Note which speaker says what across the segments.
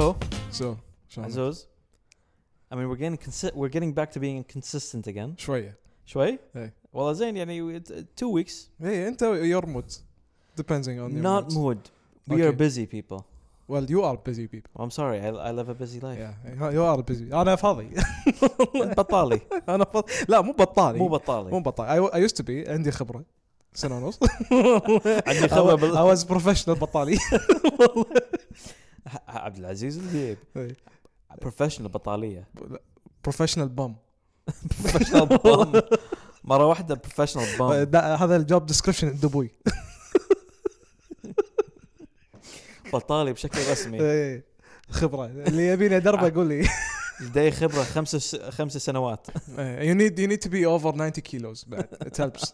Speaker 1: So, شلونك؟
Speaker 2: عزوز I mean we're getting consi- we're getting back to being consistent again
Speaker 1: شويه
Speaker 2: شوي
Speaker 1: إيه.
Speaker 2: والله زين يعني it- two weeks
Speaker 1: اي انت your إيه، mood depending on your
Speaker 2: not
Speaker 1: mood.
Speaker 2: mood we are
Speaker 1: Okay.
Speaker 2: busy people
Speaker 1: well you are busy people
Speaker 2: I'm sorry I, I live a busy life
Speaker 1: yeah you are busy انا فاضي
Speaker 2: بطالي
Speaker 1: انا فاضي لا مو بطالي
Speaker 2: مو
Speaker 1: مو
Speaker 2: بطالي
Speaker 1: بطالي I, I used to be عندي خبره سنه ونص
Speaker 2: عندي خبرة بال-
Speaker 1: I was professional بطالي
Speaker 2: ح- عبد العزيز الذيب
Speaker 1: إيه.
Speaker 2: بروفيشنال بطاليه
Speaker 1: professional bum
Speaker 2: بروفيشنال بام مره واحده بروفيشنال بام
Speaker 1: ده- إيه، هذا الجوب ديسكربشن عند ابوي
Speaker 2: بطالي بشكل رسمي
Speaker 1: إيه. خبره اللي يبيني دربه يقول لي
Speaker 2: لدي خبره خمس س- خمس سنوات إيه.
Speaker 1: you need you need to be over 90 kilos بعد it helps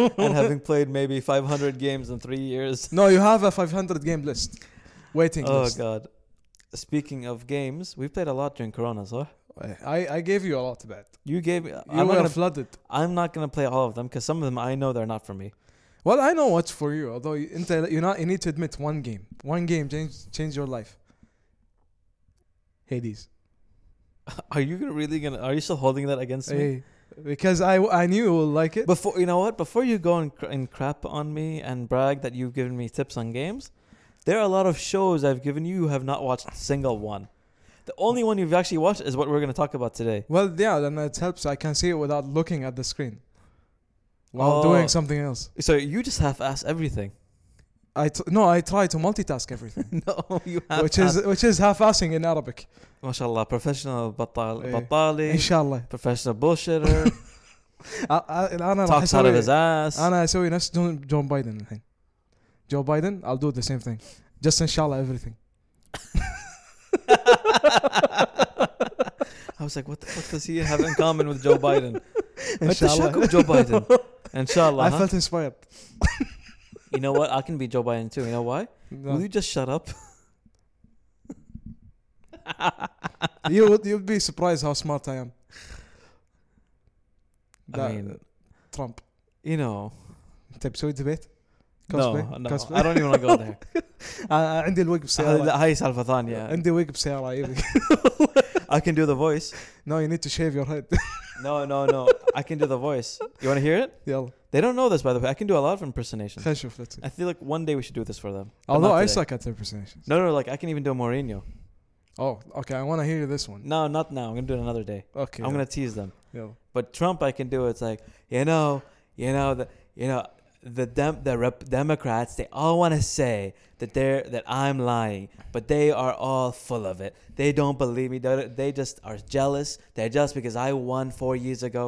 Speaker 2: and having played maybe 500 games in three years
Speaker 1: no you have a 500 game list waiting
Speaker 2: oh
Speaker 1: list
Speaker 2: god speaking of games we played a lot during corona صح
Speaker 1: I I gave you a lot بعد
Speaker 2: you gave
Speaker 1: you
Speaker 2: I'm not,
Speaker 1: were
Speaker 2: gonna,
Speaker 1: flooded
Speaker 2: I'm not gonna play all of them because some of them I know they're not for me
Speaker 1: well I know what's for you although you- انت you not you need to admit one game one game change change your life Hades
Speaker 2: are you gonna really gonna are you still holding that against me
Speaker 1: Hey, because I I knew you would like it
Speaker 2: Before you know what, before you go and, cr- and crap on me and brag that you've given me tips on games, there are a lot of shows I've given you you have not watched a single one. The only one you've actually watched is what we're going to talk about today.
Speaker 1: well yeah then it helps I can see it without looking at the screen while
Speaker 2: Oh.
Speaker 1: doing something else
Speaker 2: So you just half-ass everything.
Speaker 1: I t- no I try to multitask everything
Speaker 2: no, you half
Speaker 1: which is which is half-assing in Arabic
Speaker 2: mashallah professional batal
Speaker 1: Hey.
Speaker 2: batali
Speaker 1: ان شاء الله
Speaker 2: professional bullshitter
Speaker 1: أ- أ- انا راح
Speaker 2: talks out of
Speaker 1: اسوي
Speaker 2: his ass.
Speaker 1: انا اسوي نفس جون جون بايدن الحين جو بايدن I'll do the same thing just ان شاء الله everything
Speaker 2: I was like, what the fuck does he have in common with Joe Biden?
Speaker 1: ان
Speaker 2: انت
Speaker 1: شاء
Speaker 2: شاكو
Speaker 1: الله
Speaker 2: بجو بايدن
Speaker 1: I
Speaker 2: Inshallah. huh?
Speaker 1: felt inspired
Speaker 2: You know what? I can be Joe Biden too. You know why? Will you just shut up?
Speaker 1: you would you'd be surprised how smart I am
Speaker 2: I
Speaker 1: That- uh,
Speaker 2: mean,
Speaker 1: ترامب
Speaker 2: you know.
Speaker 1: انت بتسوي ديبيت؟
Speaker 2: No, no. I don't even want to go there.
Speaker 1: عندي الويك
Speaker 2: هذه-
Speaker 1: بسيارة
Speaker 2: لا، هاي سالفة ثانية.
Speaker 1: عندي ويك بسيارة عيبي
Speaker 2: I can do the voice.
Speaker 1: No you need to shave your head
Speaker 2: No, no, no. I can do the voice. You want to hear it?
Speaker 1: يلا
Speaker 2: They don't know this, by the way. I can do a lot of impersonations.
Speaker 1: خلينا نشوف let's see.
Speaker 2: I feel like one day we should do this for them. but
Speaker 1: Although
Speaker 2: not
Speaker 1: I
Speaker 2: today.
Speaker 1: suck at impersonations
Speaker 2: No, no, like I can even do Mourinho.
Speaker 1: Oh okay I want to hear this one
Speaker 2: No, not now. I'm gonna do it another day.
Speaker 1: Okay
Speaker 2: I'm gonna tease them.
Speaker 1: يلا
Speaker 2: But Trump, I can do. It's like you know, you know the you know the dem- the rep- Democrats. They all want to say that they're that I'm lying, but they are all full of it. They don't believe me. They they just are jealous. They're jealous because I won four years ago.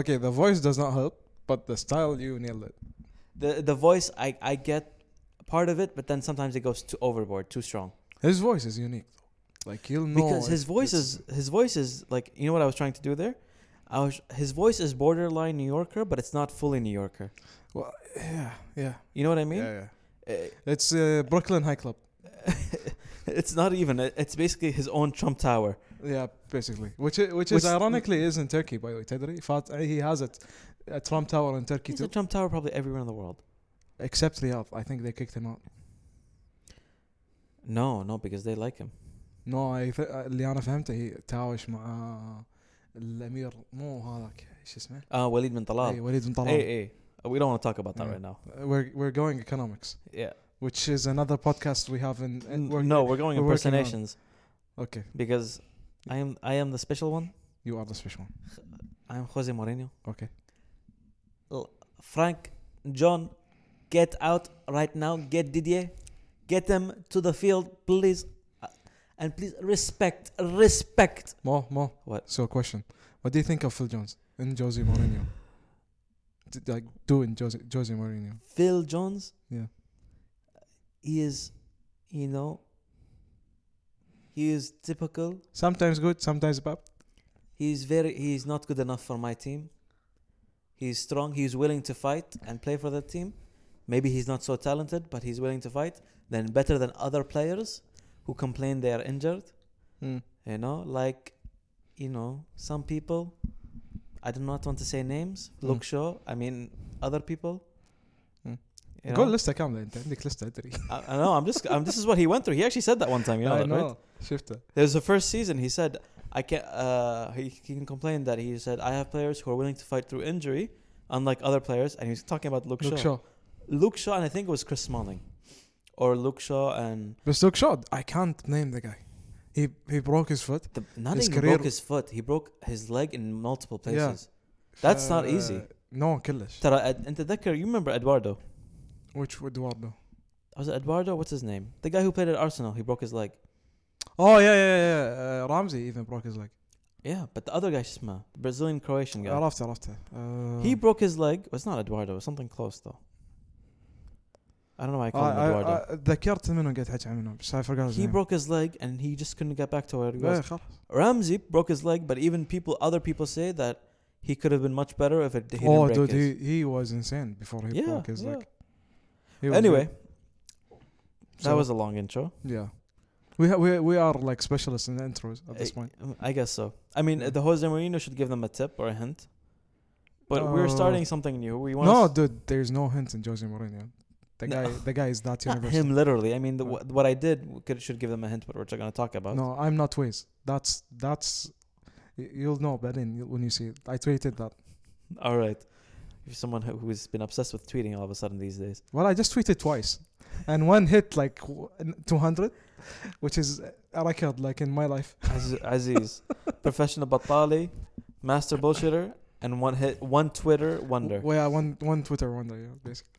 Speaker 1: Okay the voice does not help but the style you nailed it
Speaker 2: The the voice, I I get part of it, but then sometimes it goes too overboard, too strong.
Speaker 1: His voice is unique though. Like you'll know
Speaker 2: because his
Speaker 1: if
Speaker 2: voice
Speaker 1: it's-
Speaker 2: is his voice is like you know what I was trying to do there. I was his voice is borderline New Yorker, but it's not fully New Yorker.
Speaker 1: well, yeah yeah
Speaker 2: You know what I mean?
Speaker 1: yeah yeah
Speaker 2: Uh,
Speaker 1: It's uh, Brooklyn High Club
Speaker 2: it's not even. it- It's basically his own Trump Tower.
Speaker 1: Yeah, basically. Which i- which is
Speaker 2: Which-
Speaker 1: ironically is in Turkey, by the way. Tedri, Fat, he has it, a Trump Tower in Turkey
Speaker 2: He's a
Speaker 1: too.
Speaker 2: Trump Tower probably everywhere in the world.
Speaker 1: Except Riyadh, I think they kicked him out.
Speaker 2: No, no, because they like him.
Speaker 1: No, I uh, th- اللي أنا فهمته هي تهاوش مع الأمير مو هذاك إيش اسمه؟
Speaker 2: Uh, Walid bin
Speaker 1: أي
Speaker 2: Talal.
Speaker 1: وليد بن
Speaker 2: Hey,
Speaker 1: طلال.
Speaker 2: hey, we don't want to talk about that
Speaker 1: Yeah.
Speaker 2: right now.
Speaker 1: Uh, We're we're going economics,
Speaker 2: Yeah.
Speaker 1: which is another podcast we have in. in-
Speaker 2: N- no, we're going
Speaker 1: we're working on-
Speaker 2: impersonations
Speaker 1: Okay,
Speaker 2: because I am I am the special one.
Speaker 1: you are the special one.
Speaker 2: I am Jose Mourinho.
Speaker 1: Okay.
Speaker 2: L- Frank, John, get out right now. Get Didier. Get them to the field, please. Uh, And please respect, respect.
Speaker 1: Mo, Mo.
Speaker 2: What?
Speaker 1: So, question: What do you think of Phil Jones and Josie Mourinho? D- like doing Josie Josie Mourinho?
Speaker 2: Phil Jones.
Speaker 1: Yeah.
Speaker 2: He is, you know. He is typical.
Speaker 1: Sometimes good, sometimes bad.
Speaker 2: He is very. He is not good enough for my team. He is strong. He is willing to fight and play for the team. Maybe he's not so talented, but he's willing to fight. Then better than other players who complain they are injured.
Speaker 1: Hmm,
Speaker 2: You know, like, you know, some people. I do not want to say names.
Speaker 1: Mm.
Speaker 2: Look, Shaw. I mean, other people.
Speaker 1: Mm.
Speaker 2: You know?
Speaker 1: قول لسته كامله انت عندك لسته ادري
Speaker 2: I, I know. I'm just. I'm, this is what he went through. He actually said that one time. You know,
Speaker 1: I
Speaker 2: that, right?
Speaker 1: know. شفته
Speaker 2: There's the first season. He said, "I can't." Uh, he he complained that he said, "I have players who are willing to fight through injury, unlike other players." And he was talking about Luke,
Speaker 1: لوك
Speaker 2: Shaw.
Speaker 1: شو
Speaker 2: Luke Shaw, and I think it was Chris Smalling, or Luke Shaw and
Speaker 1: بس لوك شو I can't name the guy he he broke his foot
Speaker 2: the, not
Speaker 1: His
Speaker 2: even
Speaker 1: career-
Speaker 2: broke his foot. He broke his leg in multiple
Speaker 1: Yeah.
Speaker 2: places. uh, That's not
Speaker 1: Uh,
Speaker 2: easy.
Speaker 1: نو كلش
Speaker 2: ترى أد- انت تذكر you remember Eduardo
Speaker 1: which Eduardo
Speaker 2: was it Eduardo what's his name the guy who played at Arsenal he broke his leg
Speaker 1: oh yeah yeah yeah uh, Ramsey even broke his leg
Speaker 2: yeah but the other guy شو اسمه the Brazilian Croatian guy
Speaker 1: عرفته عرفته uh,
Speaker 2: he broke his leg it's not Eduardo it's something close though I don't know why I
Speaker 1: I,
Speaker 2: call him Eduardo
Speaker 1: I, I, ذكرت منو قاعد احكي عنه بس I forgot his
Speaker 2: he
Speaker 1: name.
Speaker 2: broke his leg and he just couldn't get back to where he was
Speaker 1: إيه، خلاص
Speaker 2: Ramsey broke his leg but even people other people say that he could have been much better if it, he didn't
Speaker 1: oh
Speaker 2: break
Speaker 1: dude
Speaker 2: his
Speaker 1: he, he was insane before he
Speaker 2: Yeah,
Speaker 1: broke his leg He was
Speaker 2: anyway
Speaker 1: good.
Speaker 2: that
Speaker 1: So,
Speaker 2: was a long intro
Speaker 1: yeah we, ha- we we are like specialists in intros at this
Speaker 2: I-
Speaker 1: point
Speaker 2: I guess so. I mean,
Speaker 1: Yeah.
Speaker 2: the Jose Mourinho should give them a tip or a hint. But we're
Speaker 1: Uh,
Speaker 2: starting something new. We want
Speaker 1: no
Speaker 2: to
Speaker 1: dude there's no hint in Jose Mourinho the
Speaker 2: No.
Speaker 1: guy the guy is that
Speaker 2: not
Speaker 1: universal
Speaker 2: him literally. I mean, the,
Speaker 1: Uh.
Speaker 2: what, what I did w- could, should give them a hint. What we're going to talk about.
Speaker 1: No, I'm not Wiz. That's that's y- you'll know Benin y- when you see it. I tweeted that.
Speaker 2: All right. You're someone who- who's been obsessed with tweeting all of a sudden these days.
Speaker 1: Well, I just tweeted twice, and one hit like w- 200, which is a record like in my life.
Speaker 2: Az- Aziz, professional batali, master bullshitter, and one hit, one Twitter wonder.
Speaker 1: Well, yeah, one one Twitter wonder, yeah, basically,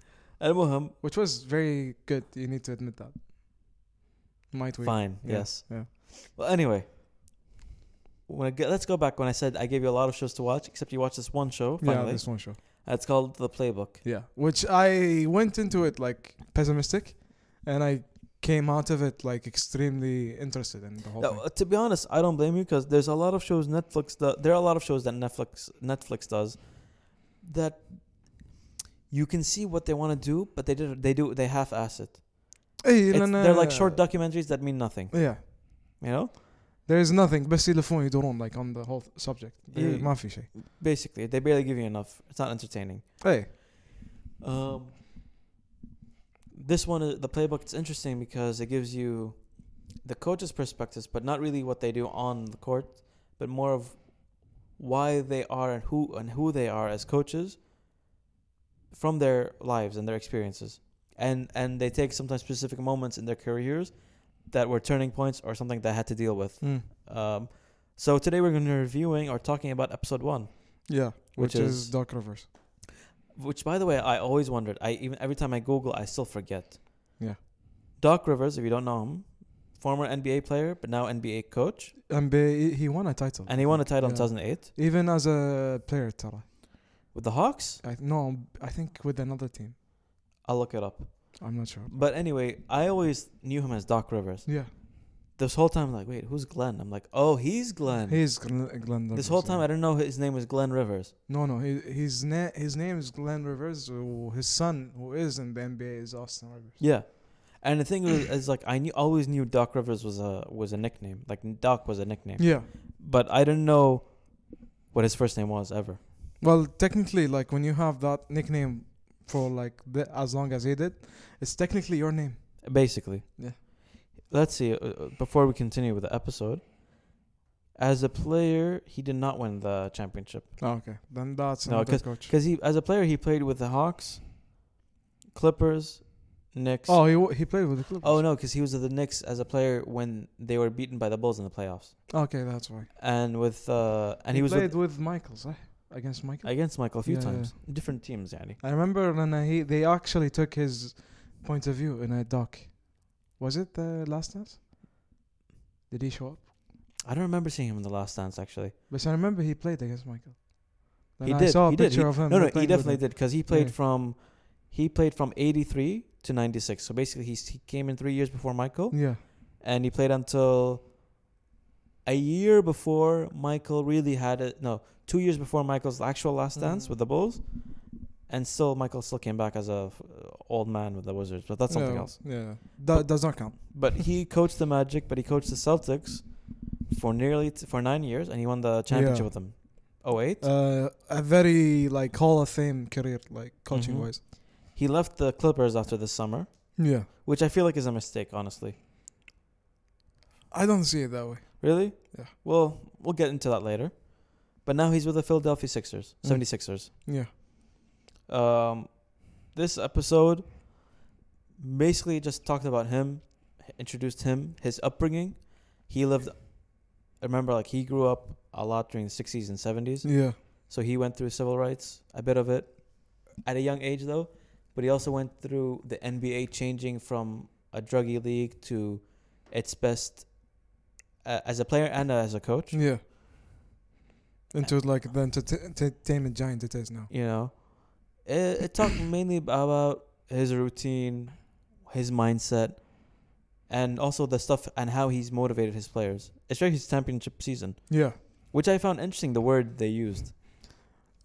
Speaker 2: Al-Muhim,
Speaker 1: which was very good. You need to admit that. My tweet.
Speaker 2: fine.
Speaker 1: Yeah,
Speaker 2: Yes.
Speaker 1: yeah.
Speaker 2: Well, anyway. When I g let's go back when I said I gave you a lot of shows to watch, except you watched this one show
Speaker 1: Yeah,
Speaker 2: finally.
Speaker 1: this one show.
Speaker 2: It's called The Playbook.
Speaker 1: Yeah, which I went into it like pessimistic, and I came out of it like extremely interested in the whole
Speaker 2: Now,
Speaker 1: thing.
Speaker 2: uh, to be honest, I don't blame you because there's a lot of shows Netflix. Do- there are a lot of shows that Netflix Netflix does that you can see what they want to do, but they did they do they half ass it.
Speaker 1: Hey,
Speaker 2: It's-
Speaker 1: لأن-
Speaker 2: they're like short documentaries that mean nothing.
Speaker 1: Yeah.
Speaker 2: You know,
Speaker 1: There is nothing بس يلفون يدورون like on the whole th- subject There-
Speaker 2: Yeah.
Speaker 1: ما في شيء
Speaker 2: basically they barely give you enough. It's not entertaining.
Speaker 1: اي
Speaker 2: Um, this one, is- the playbook, it's interesting because it gives you the coach's perspectives, but not really what they do on the court, but more of why they are and who and who they are as coaches from their lives and their experiences, and and they take sometimes specific moments in their careers that were turning points or something they had to deal with. Um, so today we're going to be reviewing or talking about episode one.
Speaker 1: yeah
Speaker 2: Which
Speaker 1: which, is,
Speaker 2: is-
Speaker 1: Doc Rivers
Speaker 2: Which, by the way, I always wondered. I even every time I Google, I still forget.
Speaker 1: Yeah.
Speaker 2: Doc Rivers, if you don't know him, former NBA player, but now NBA coach,
Speaker 1: and be, he won a title
Speaker 2: and he won a title in
Speaker 1: Yeah.
Speaker 2: 2008
Speaker 1: even as a player ترى
Speaker 2: with the Hawks.
Speaker 1: I, no I think with another team
Speaker 2: I'll look it up.
Speaker 1: I'm not sure
Speaker 2: But anyway, I always knew him as Doc Rivers.
Speaker 1: yeah
Speaker 2: This whole time, I'm like, wait, who's Glenn? I'm like, oh, he's Glenn.
Speaker 1: he's Glenn, Glenn Rivers,
Speaker 2: this whole time, I
Speaker 1: yeah.
Speaker 2: didn't know his name was Glenn Rivers.
Speaker 1: no no he, his, na- his name is Glenn Rivers who- his son who is in the NBA is Austin Rivers
Speaker 2: Yeah. And the thing was, is like, I knew always knew Doc Rivers was a was a nickname. Like Doc was a nickname,
Speaker 1: yeah
Speaker 2: but I didn't know what his first name was ever.
Speaker 1: Well, technically, like when you have that nickname for like the, as long as he did, it's technically your name.
Speaker 2: Basically.
Speaker 1: Yeah.
Speaker 2: Let's see. uh, Uh, before we continue with the episode, as a player, he did not win the championship
Speaker 1: Oh, okay. Then that's
Speaker 2: No,
Speaker 1: another coach.
Speaker 2: because he, as a player, he played with the Hawks, Clippers, Knicks.
Speaker 1: Oh, he wa- he played with the Clippers.
Speaker 2: Oh, no, because he was with the Knicks as a player when they were beaten by the Bulls in the playoffs,
Speaker 1: Okay, that's why.
Speaker 2: and with uh, and he, was
Speaker 1: played
Speaker 2: with,
Speaker 1: with, Michaels eh? against Michael. I,
Speaker 2: against Michael a few
Speaker 1: Yeah, yeah.
Speaker 2: times, different teams, yani.
Speaker 1: remember when he they actually took his point of view in a doc. Was it the last dance? Did he show up?
Speaker 2: I don't remember seeing him in the Last Dance actually.
Speaker 1: But I remember he played against Michael. Then
Speaker 2: he
Speaker 1: I
Speaker 2: did.
Speaker 1: saw a
Speaker 2: he did.
Speaker 1: picture
Speaker 2: He-
Speaker 1: of him.
Speaker 2: No, no,
Speaker 1: playing
Speaker 2: he
Speaker 1: with
Speaker 2: definitely
Speaker 1: him.
Speaker 2: did because he played
Speaker 1: Yeah.
Speaker 2: from he played from eighty three to ninety six. So basically, he he came in three years before Michael,
Speaker 1: Yeah.
Speaker 2: and he played until a year before Michael really had it. No, two years before Michael's actual last dance
Speaker 1: Mm.
Speaker 2: with the Bulls, and still Michael still came back as a f- uh, old man with the Wizards. But that's something
Speaker 1: yeah.
Speaker 2: else.
Speaker 1: Yeah. That does not count.
Speaker 2: But he coached the Magic, but he coached the Celtics for nearly t- for nine years, and he won the championship
Speaker 1: Yeah.
Speaker 2: with them. 08.
Speaker 1: uh, a very like Hall of Fame career, like coaching
Speaker 2: Mhm.
Speaker 1: wise.
Speaker 2: He left the Clippers after the summer,
Speaker 1: Yeah.
Speaker 2: which I feel like is a mistake, honestly.
Speaker 1: I don't see it that way.
Speaker 2: Really?
Speaker 1: Yeah.
Speaker 2: Well, we'll get into that later. But now he's with the Philadelphia Sixers,
Speaker 1: Mm.
Speaker 2: 76ers.
Speaker 1: Yeah.
Speaker 2: Um, this episode basically just talked about him, introduced him, his upbringing. He lived, remember, like he grew up a lot during the 60s and 70s.
Speaker 1: Yeah.
Speaker 2: So he went through civil rights, a bit of it, at a young age though. But he also went through the NBA changing from a druggy league to its best uh, as a player and as a coach.
Speaker 1: Yeah. Into like the enter- entertainment giant it is now.
Speaker 2: You know, it, it talked mainly about his routine, his mindset, and also the stuff and how he's motivated his players, especially his championship season,
Speaker 1: Yeah.
Speaker 2: which I found interesting. The word they used.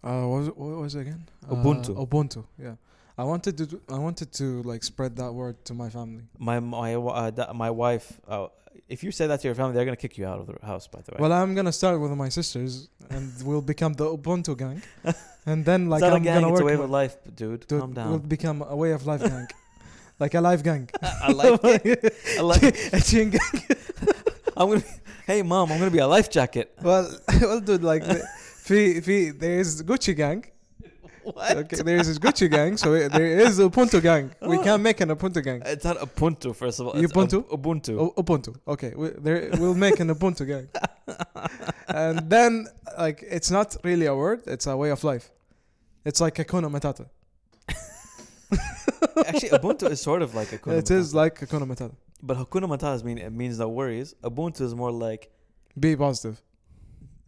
Speaker 1: Uh, what was it, what was it again?
Speaker 2: Ubuntu.
Speaker 1: Uh, Ubuntu. Yeah. I wanted to. do- I wanted to like spread that word to my family.
Speaker 2: My my wa- uh, da- my wife. Uh, if you say that to your family, they're gonna kick you out of the house. By the way,
Speaker 1: Well, I'm gonna start with my sisters, and we'll become the Ubuntu gang, and then like
Speaker 2: it's not
Speaker 1: I'm
Speaker 2: a gang.
Speaker 1: gonna
Speaker 2: It's
Speaker 1: work.
Speaker 2: a way
Speaker 1: with-
Speaker 2: of life, dude.
Speaker 1: to-
Speaker 2: Calm down.
Speaker 1: We'll become a way of life gang, like a life gang.
Speaker 2: I like it. I like it.
Speaker 1: a chain gang.
Speaker 2: I'm gonna. Be, hey, mom, I'm gonna be a life jacket.
Speaker 1: Well, well, dude, like, the- في في there is Gucci gang.
Speaker 2: What?
Speaker 1: Okay, there is Gucci gang, so there is Ubuntu gang. We can make an Ubuntu gang.
Speaker 2: It's not Ubuntu, first of all. It's
Speaker 1: Ubuntu? Oh.
Speaker 2: Ub- Ubuntu.
Speaker 1: U- Ubuntu. Okay, we, there, we'll make an Ubuntu gang. and then, like, it's not really a word; it's a way of life. It's like Hakuna Matata.
Speaker 2: Actually, Ubuntu is sort of like Hakuna
Speaker 1: it is like Hakuna Matata.
Speaker 2: But Hakuna Matata mean, it means no worries. Ubuntu is more like
Speaker 1: Be positive.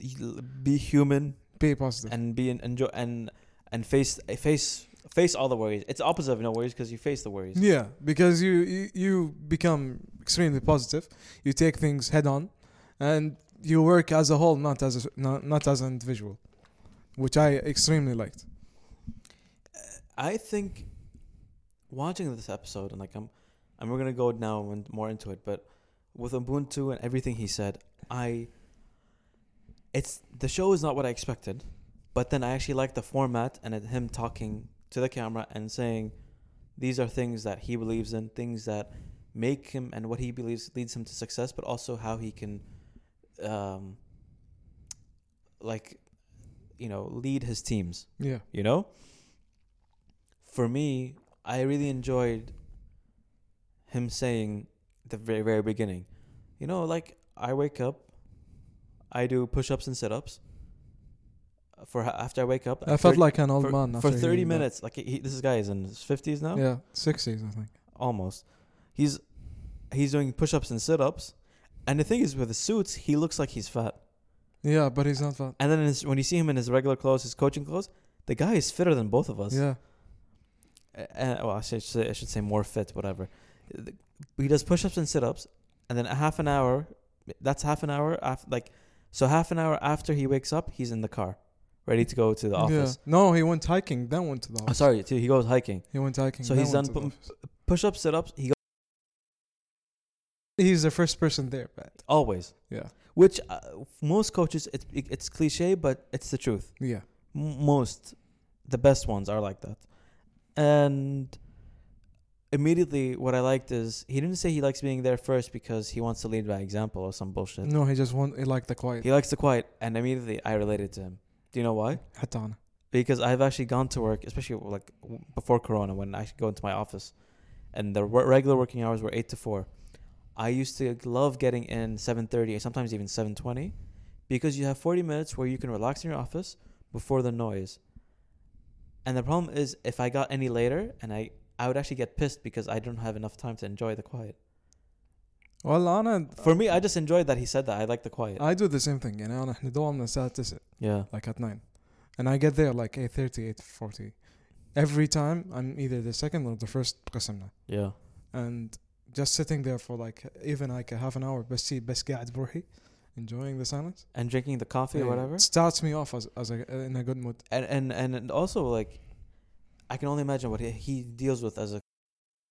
Speaker 2: y- be human
Speaker 1: Be positive.
Speaker 2: and be in, enjoy and and face face face all the worries. It's opposite of no worries because you face the worries.
Speaker 1: Yeah, because you, you you become extremely positive. You take things head on, and you work as a whole, not as a, not, not as an individual, which I extremely liked.
Speaker 2: I think watching this episode and like I'm, and we're gonna go now and more into it, but with Ubuntu and everything he said, I, it's the show is not what I expected, but then I actually like the format and it, him talking to the camera and saying, these are things that he believes in, things that make him and what he believes leads him to success, but also how he can, um, like, you know, lead his teams
Speaker 1: Yeah,
Speaker 2: you know for me i really enjoyed him saying the very very beginning you know like i wake up i do push-ups and sit-ups uh, for after i wake up
Speaker 1: I felt
Speaker 2: thir-
Speaker 1: like an old
Speaker 2: for,
Speaker 1: man
Speaker 2: for
Speaker 1: after
Speaker 2: 30
Speaker 1: hearing that.
Speaker 2: minutes like he, this guy is in his 50s now
Speaker 1: Yeah, sixties, I think.
Speaker 2: almost he's he's doing push-ups and sit-ups and the thing is with the suits he looks like he's fat
Speaker 1: Yeah, but he's not that.
Speaker 2: and then his, when you see him in his regular clothes his coaching clothes the guy is fitter than both of us
Speaker 1: Yeah,
Speaker 2: uh, well, I should, say, I should say more fit, whatever. The- He does push ups and sit ups, and then a half an hour. That's half an hour after, like, so half an hour after he wakes up, he's in the car, ready to go to the office.
Speaker 1: yeah. No, he went hiking, then went to the
Speaker 2: Oh,
Speaker 1: office.
Speaker 2: sorry, too, he goes hiking.
Speaker 1: He went hiking.
Speaker 2: So
Speaker 1: then
Speaker 2: he's done
Speaker 1: went to the
Speaker 2: pum-
Speaker 1: office.
Speaker 2: Push ups, sit ups. He goes
Speaker 1: He's the first person there, but
Speaker 2: always.
Speaker 1: Yeah.
Speaker 2: Which uh, most coaches, it's it's cliche, but it's the truth.
Speaker 1: yeah,
Speaker 2: M- most the best ones are like that and immediately what i liked is he didn't say he likes being there first because he wants to lead by example or some bullshit
Speaker 1: no, he just want he liked the quiet.
Speaker 2: he likes the quiet and immediately i related to him do you know why
Speaker 1: حتى أنا.
Speaker 2: because I've actually gone to work, especially like w- before Corona, when I actually go into my office, and the w- regular working hours were eight to four. I used to love getting in seven thirty, sometimes even seven twenty, because you have forty minutes where you can relax in your office before the noise. And the problem is, if I got any later, and I I would actually get pissed because I don't have enough time to enjoy the quiet.
Speaker 1: Well, أنا
Speaker 2: For me, I just enjoyed that he said that I like the quiet.
Speaker 1: I do the same thing. يعني أنا احنا دوامنا الساعة 9
Speaker 2: yeah,
Speaker 1: like at 9 and i get there like 8.30 8.40 every time i'm either the second or the first قسمنا
Speaker 2: yeah.
Speaker 1: and just sitting there for like even like a half an hour بس بس قاعد بروحي enjoying the silence
Speaker 2: And drinking the coffee or
Speaker 1: Yeah,
Speaker 2: whatever.
Speaker 1: it starts me off as, as a, in a good mood
Speaker 2: and and and and also like i can only imagine what he, he deals with as a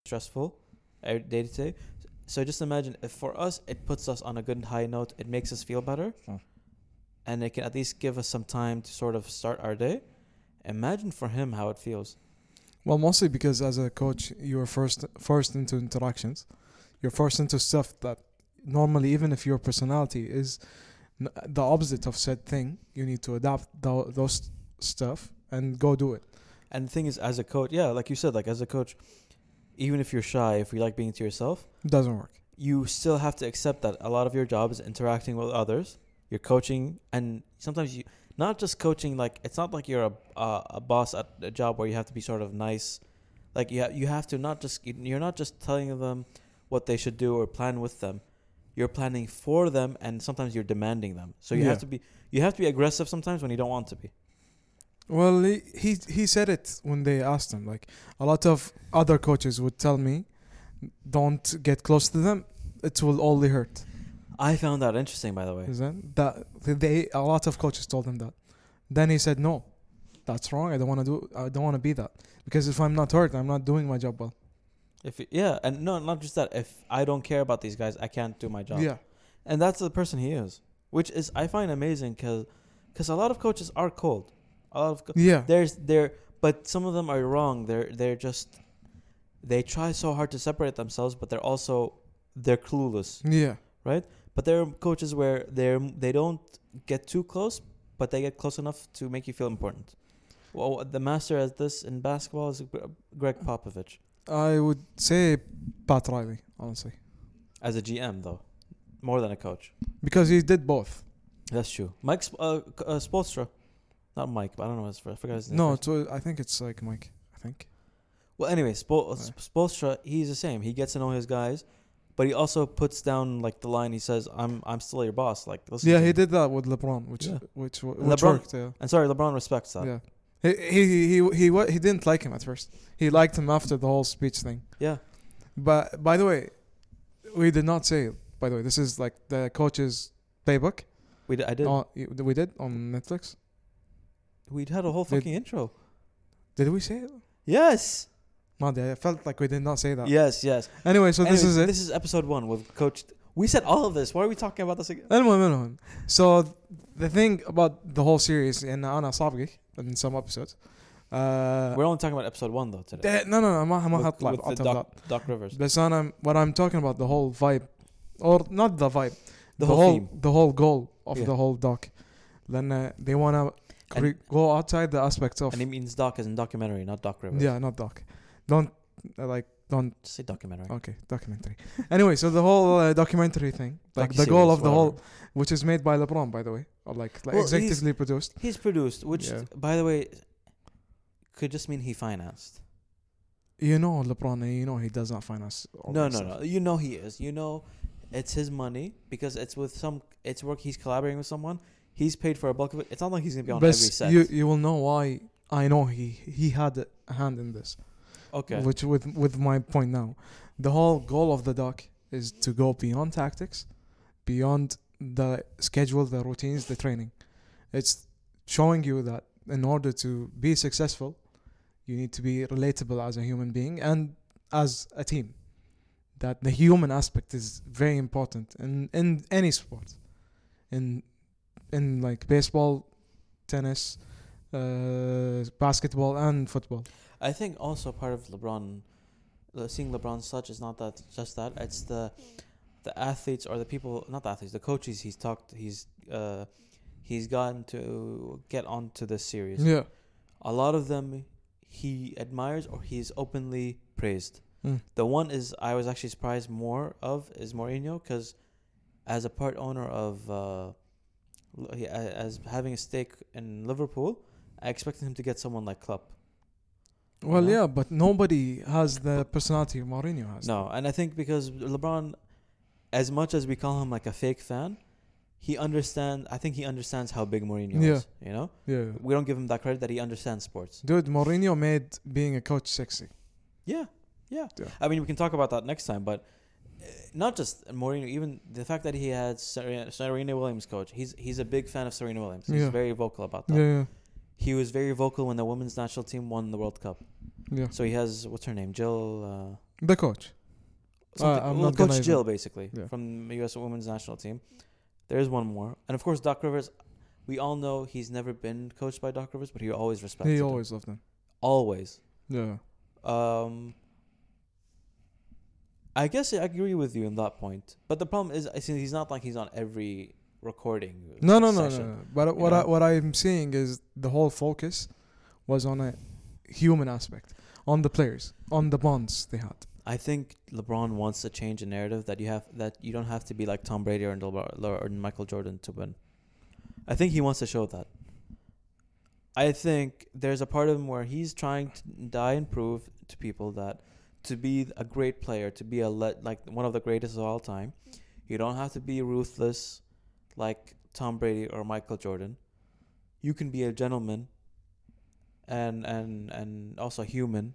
Speaker 2: stressful uh, day to day so just imagine if for us it puts us on a good high note it makes us feel better
Speaker 1: Sure.
Speaker 2: and it can at least give us some time to sort of start our day imagine for him how it feels
Speaker 1: Well, mostly because as a coach, you're first first into interactions. You're first into stuff that normally, even if your personality is n- the opposite of said thing, you need to adapt tho- those stuff and go do it.
Speaker 2: And the thing is, as a coach, yeah, like you said, like as a coach, even if you're shy, if you like being to yourself,
Speaker 1: Doesn't work.
Speaker 2: you still have to accept that a lot of your job is interacting with others. You're coaching, and sometimes you not just coaching. Like it's not like you're a a, a boss at a job where you have to be sort of nice. Like you ha- you have to not just you're not just telling them what they should do or plan with them. You're planning for them, and sometimes you're demanding them. So you
Speaker 1: Yeah.
Speaker 2: have to be you have to be aggressive sometimes when you don't want to be.
Speaker 1: Well, he, he he said it when they asked him. Like a lot of other coaches would tell me, "Don't get close to them; it will only hurt."
Speaker 2: I found that interesting, by the way.
Speaker 1: Is that that they a lot of coaches told him that. Then he said, "No, that's wrong. I don't want to do. I don't want to be that because if I'm not hurt, I'm not doing my job well."
Speaker 2: If you- yeah, and no, not just that. If I don't care about these guys, I can't do my job.
Speaker 1: Yeah,
Speaker 2: and that's the person he is, which is I find amazing because a lot of coaches are cold. A lot of co-
Speaker 1: yeah,
Speaker 2: there's there, but some of them are wrong. They're they're just they try so hard to separate themselves, but they're also they're clueless.
Speaker 1: yeah,
Speaker 2: But there are coaches where they're they don't get too close, but they get close enough to make you feel important. Well, the master at this in basketball is Gre- Greg Popovich
Speaker 1: I would say Pat Riley honestly
Speaker 2: as a GM though, more than a coach.
Speaker 1: because he did both.
Speaker 2: That's true. Mike Sp- uh, K- uh, Spolstra. Not Mike, but I don't know his first. I forgot his name.
Speaker 1: No,
Speaker 2: first.
Speaker 1: it was, I think it's like Mike. I think.
Speaker 2: Well, anyway, Spol-
Speaker 1: Sorry.
Speaker 2: Spolstra, he's the same. He gets to know his guys, but he also puts down like the line. He says, "I'm I'm still your boss." Like, listen
Speaker 1: Yeah,
Speaker 2: to
Speaker 1: he
Speaker 2: me."
Speaker 1: did that with LeBron, which
Speaker 2: Yeah.
Speaker 1: which which,
Speaker 2: And
Speaker 1: which
Speaker 2: LeBron-
Speaker 1: worked. Yeah.
Speaker 2: And sorry, LeBron respects that. Yeah.
Speaker 1: Yeah. He he he he wa- he didn't like him at first. He liked him after the whole speech thing. But by the way, we did not say. By the way, this is like the coach's playbook.
Speaker 2: we d- I did.
Speaker 1: On, we did on Netflix.
Speaker 2: we had a whole
Speaker 1: Did-
Speaker 2: fucking intro.
Speaker 1: Did we say it?
Speaker 2: Yes.
Speaker 1: Madi, I felt like we did not say that.
Speaker 2: Yes. Yes.
Speaker 1: Anyway, so this
Speaker 2: Anyway,
Speaker 1: is it.
Speaker 2: This is episode one with Coach. We said all of this. Why are we talking about this again?
Speaker 1: المهم المهم so the thing about the whole series ان انا صابقك in some episodes uh,
Speaker 2: We're only talking about episode one though today.
Speaker 1: no no no ما ما
Speaker 2: With-
Speaker 1: حطلع
Speaker 2: with
Speaker 1: out
Speaker 2: the
Speaker 1: of
Speaker 2: Doc,
Speaker 1: that
Speaker 2: Doc Rivers.
Speaker 1: بس انا what I'm talking about the whole vibe or not the vibe
Speaker 2: The,
Speaker 1: the
Speaker 2: whole,
Speaker 1: whole
Speaker 2: theme.
Speaker 1: the whole goal of
Speaker 2: Yeah.
Speaker 1: the whole doc لان they wanna
Speaker 2: And-
Speaker 1: cre- go outside the aspects of
Speaker 2: And it means Doc as in documentary, not Doc Rivers.
Speaker 1: yeah not doc don't uh, like don't
Speaker 2: Just say documentary.
Speaker 1: okay documentary anyway so the whole uh, documentary thing like the goal
Speaker 2: Docuseries,
Speaker 1: of the whole
Speaker 2: whatever.
Speaker 1: which is made by LeBron by the way or like, like
Speaker 2: Well, he's-
Speaker 1: executively produced
Speaker 2: He's produced, which,
Speaker 1: Yeah.
Speaker 2: by the way, could just mean he financed.
Speaker 1: you know LeBron and you know he does not finance all
Speaker 2: no,
Speaker 1: that
Speaker 2: no,
Speaker 1: stuff.
Speaker 2: no. You know he is. You know, it's his money because it's with some. It's work. He's collaborating with someone. He's paid for a bulk of it. It's not like he's gonna be on
Speaker 1: But
Speaker 2: every set.
Speaker 1: you you will know why I know he he had a hand in this
Speaker 2: okay.
Speaker 1: which with with my point now the whole goal of the doc is to go beyond tactics beyond the schedule the routines the training it's showing you that in order to be successful you need to be relatable as a human being and as a team that the human aspect is very important in in any sport in in like baseball tennis uh, basketball and football
Speaker 2: I think also part of LeBron, uh, seeing LeBron such is not that just that. It's the, the athletes or the people, not the athletes, the coaches. He's talked. He's uh, he's gotten to get onto this series.
Speaker 1: yeah
Speaker 2: A lot of them he admires or he's openly praised.
Speaker 1: Mm.
Speaker 2: The one is I was actually surprised more of is Mourinho because as a part owner of uh, l- he- a- as having a stake in Liverpool, I expected him to get someone like Klopp.
Speaker 1: Well,
Speaker 2: know?
Speaker 1: yeah, but nobody has the personality Mourinho has.
Speaker 2: No, and I think because LeBron, as much as we call him like a fake fan, he understand. I think he understands how big Mourinho is. You know,
Speaker 1: Yeah.
Speaker 2: we don't give him that credit that he understands sports.
Speaker 1: Dude, Mourinho made being a coach sexy.
Speaker 2: Yeah, yeah.
Speaker 1: Yeah.
Speaker 2: I mean, we can talk about that next time, but uh, not just Mourinho. Even the fact that he had Serena, Serena Williams coach. He's he's a big fan of Serena Williams. He's
Speaker 1: Yeah.
Speaker 2: very vocal about that.
Speaker 1: Yeah, yeah.
Speaker 2: He was very vocal when the women's national team won the World Cup.
Speaker 1: yeah.
Speaker 2: So he has what's her name, Jill. Uh,
Speaker 1: The coach.
Speaker 2: Something-
Speaker 1: I'm
Speaker 2: well,
Speaker 1: not gonna
Speaker 2: Coach
Speaker 1: even-
Speaker 2: Jill, basically,
Speaker 1: Yeah.
Speaker 2: from the U.S. women's national team. There is one more. And of course, Doc Rivers, we all know he's never been coached by Doc Rivers, but he always respected
Speaker 1: He
Speaker 2: him.
Speaker 1: always loved him.
Speaker 2: Always.
Speaker 1: Yeah.
Speaker 2: Um, I guess I agree with you on that point, but the problem is, I see he's not like he's on every recording.
Speaker 1: No, no, no, no,
Speaker 2: session.
Speaker 1: no. But what
Speaker 2: know?
Speaker 1: I, what I'm seeing is the whole focus was on a human aspect, on the players, on the bonds they had.
Speaker 2: I think LeBron wants to change the narrative that you have that you don't have to be like Tom Brady or LeBron or Michael Jordan to win. I think he wants to show that. I think there's a part of him where he's trying to die and prove to people that to be a great player, to be a le- like one of the greatest of all time, you don't have to be ruthless like Tom Brady or Michael Jordan. You can be a gentleman and and and also human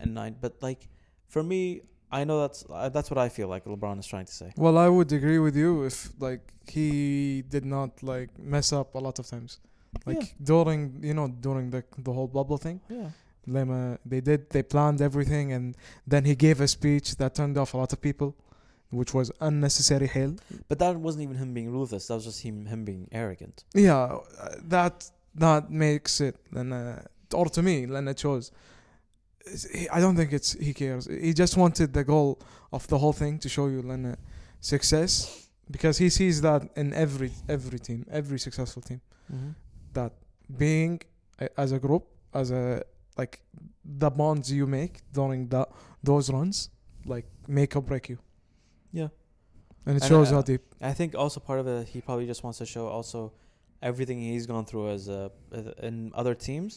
Speaker 2: and nine but like for me, I know that's uh, that's what I feel like LeBron is trying to say.
Speaker 1: Well, I would agree with you if like he did not like mess up a lot of times, like
Speaker 2: Yeah.
Speaker 1: during you know during the the whole bubble thing.
Speaker 2: Yeah.
Speaker 1: Lema, they did they planned everything and then he gave a speech that turned off a lot of people, which was unnecessary hail.
Speaker 2: But that wasn't even him being ruthless. That was just him him being arrogant.
Speaker 1: Yeah, uh, that that makes it then uh, or to me Lena chose. is- he- I don't think it's he cares. He just wanted the goal of the whole thing to show you Lena success because he sees that in every every team, every successful team, that being uh, as a group, as a like the bonds you make during the those runs, like make or break you.
Speaker 2: Yeah.
Speaker 1: and it
Speaker 2: And,
Speaker 1: shows
Speaker 2: uh,
Speaker 1: how deep.
Speaker 2: I think also part of it, he probably just wants to show also everything he's gone through as a, in other teams.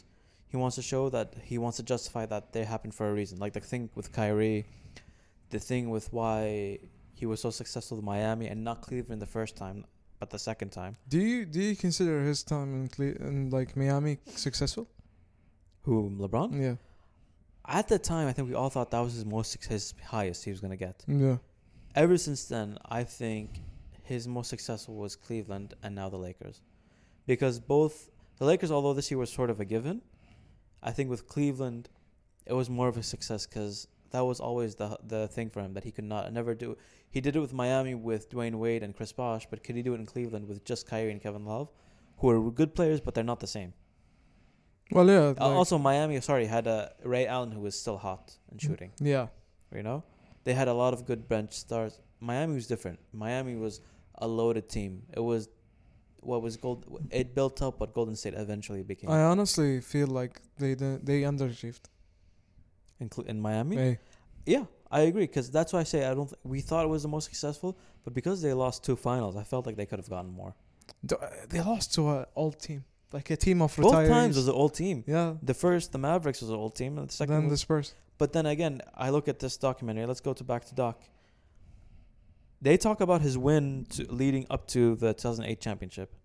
Speaker 2: He wants to show that he wants to justify that they happened for a reason. Like the thing with Kyrie, the thing with why he was so successful with Miami and not Cleveland the first time, but the second time.
Speaker 1: Do you do you consider his time in Cle- in like Miami successful?
Speaker 2: Who LeBron?
Speaker 1: Yeah,
Speaker 2: At the time, I think we all thought that was his most suc- his highest he was gonna get.
Speaker 1: yeah.
Speaker 2: Ever since then, I think his most successful was Cleveland and now the Lakers, because both the Lakers, although this year was sort of a given, I think with Cleveland, it was more of a success because that was always the the thing for him that he could not never do. He did it with Miami with Dwayne Wade and Chris Bosh, but could he do it in Cleveland with just Kyrie and Kevin Love, who are good players but they're not the same.
Speaker 1: Well, yeah.
Speaker 2: Uh,
Speaker 1: like-
Speaker 2: also, Miami, sorry, had uh, Ray Allen who was still hot and shooting.
Speaker 1: yeah,
Speaker 2: You know, they had a lot of good bench stars. Miami was different. Miami was a loaded team. It was what was gold. It built up what Golden State eventually became
Speaker 1: I honestly feel like they didn't- they underachieved.
Speaker 2: in, Cle- in Miami.
Speaker 1: Hey.
Speaker 2: Yeah, I agree because that's why I say I don't. Th- we thought it was the most successful, but because they lost two finals, I felt like they could have gotten more.
Speaker 1: D- uh, They lost to an old team, like a team of
Speaker 2: Both
Speaker 1: retirees.
Speaker 2: times was an old team.
Speaker 1: yeah.
Speaker 2: The first, the Mavericks was an old team, and the second
Speaker 1: Then
Speaker 2: was
Speaker 1: the Spurs.
Speaker 2: But then again, I look at this documentary. Let's go to back to Doc. They talk about his win to, leading up to the 2008 championship,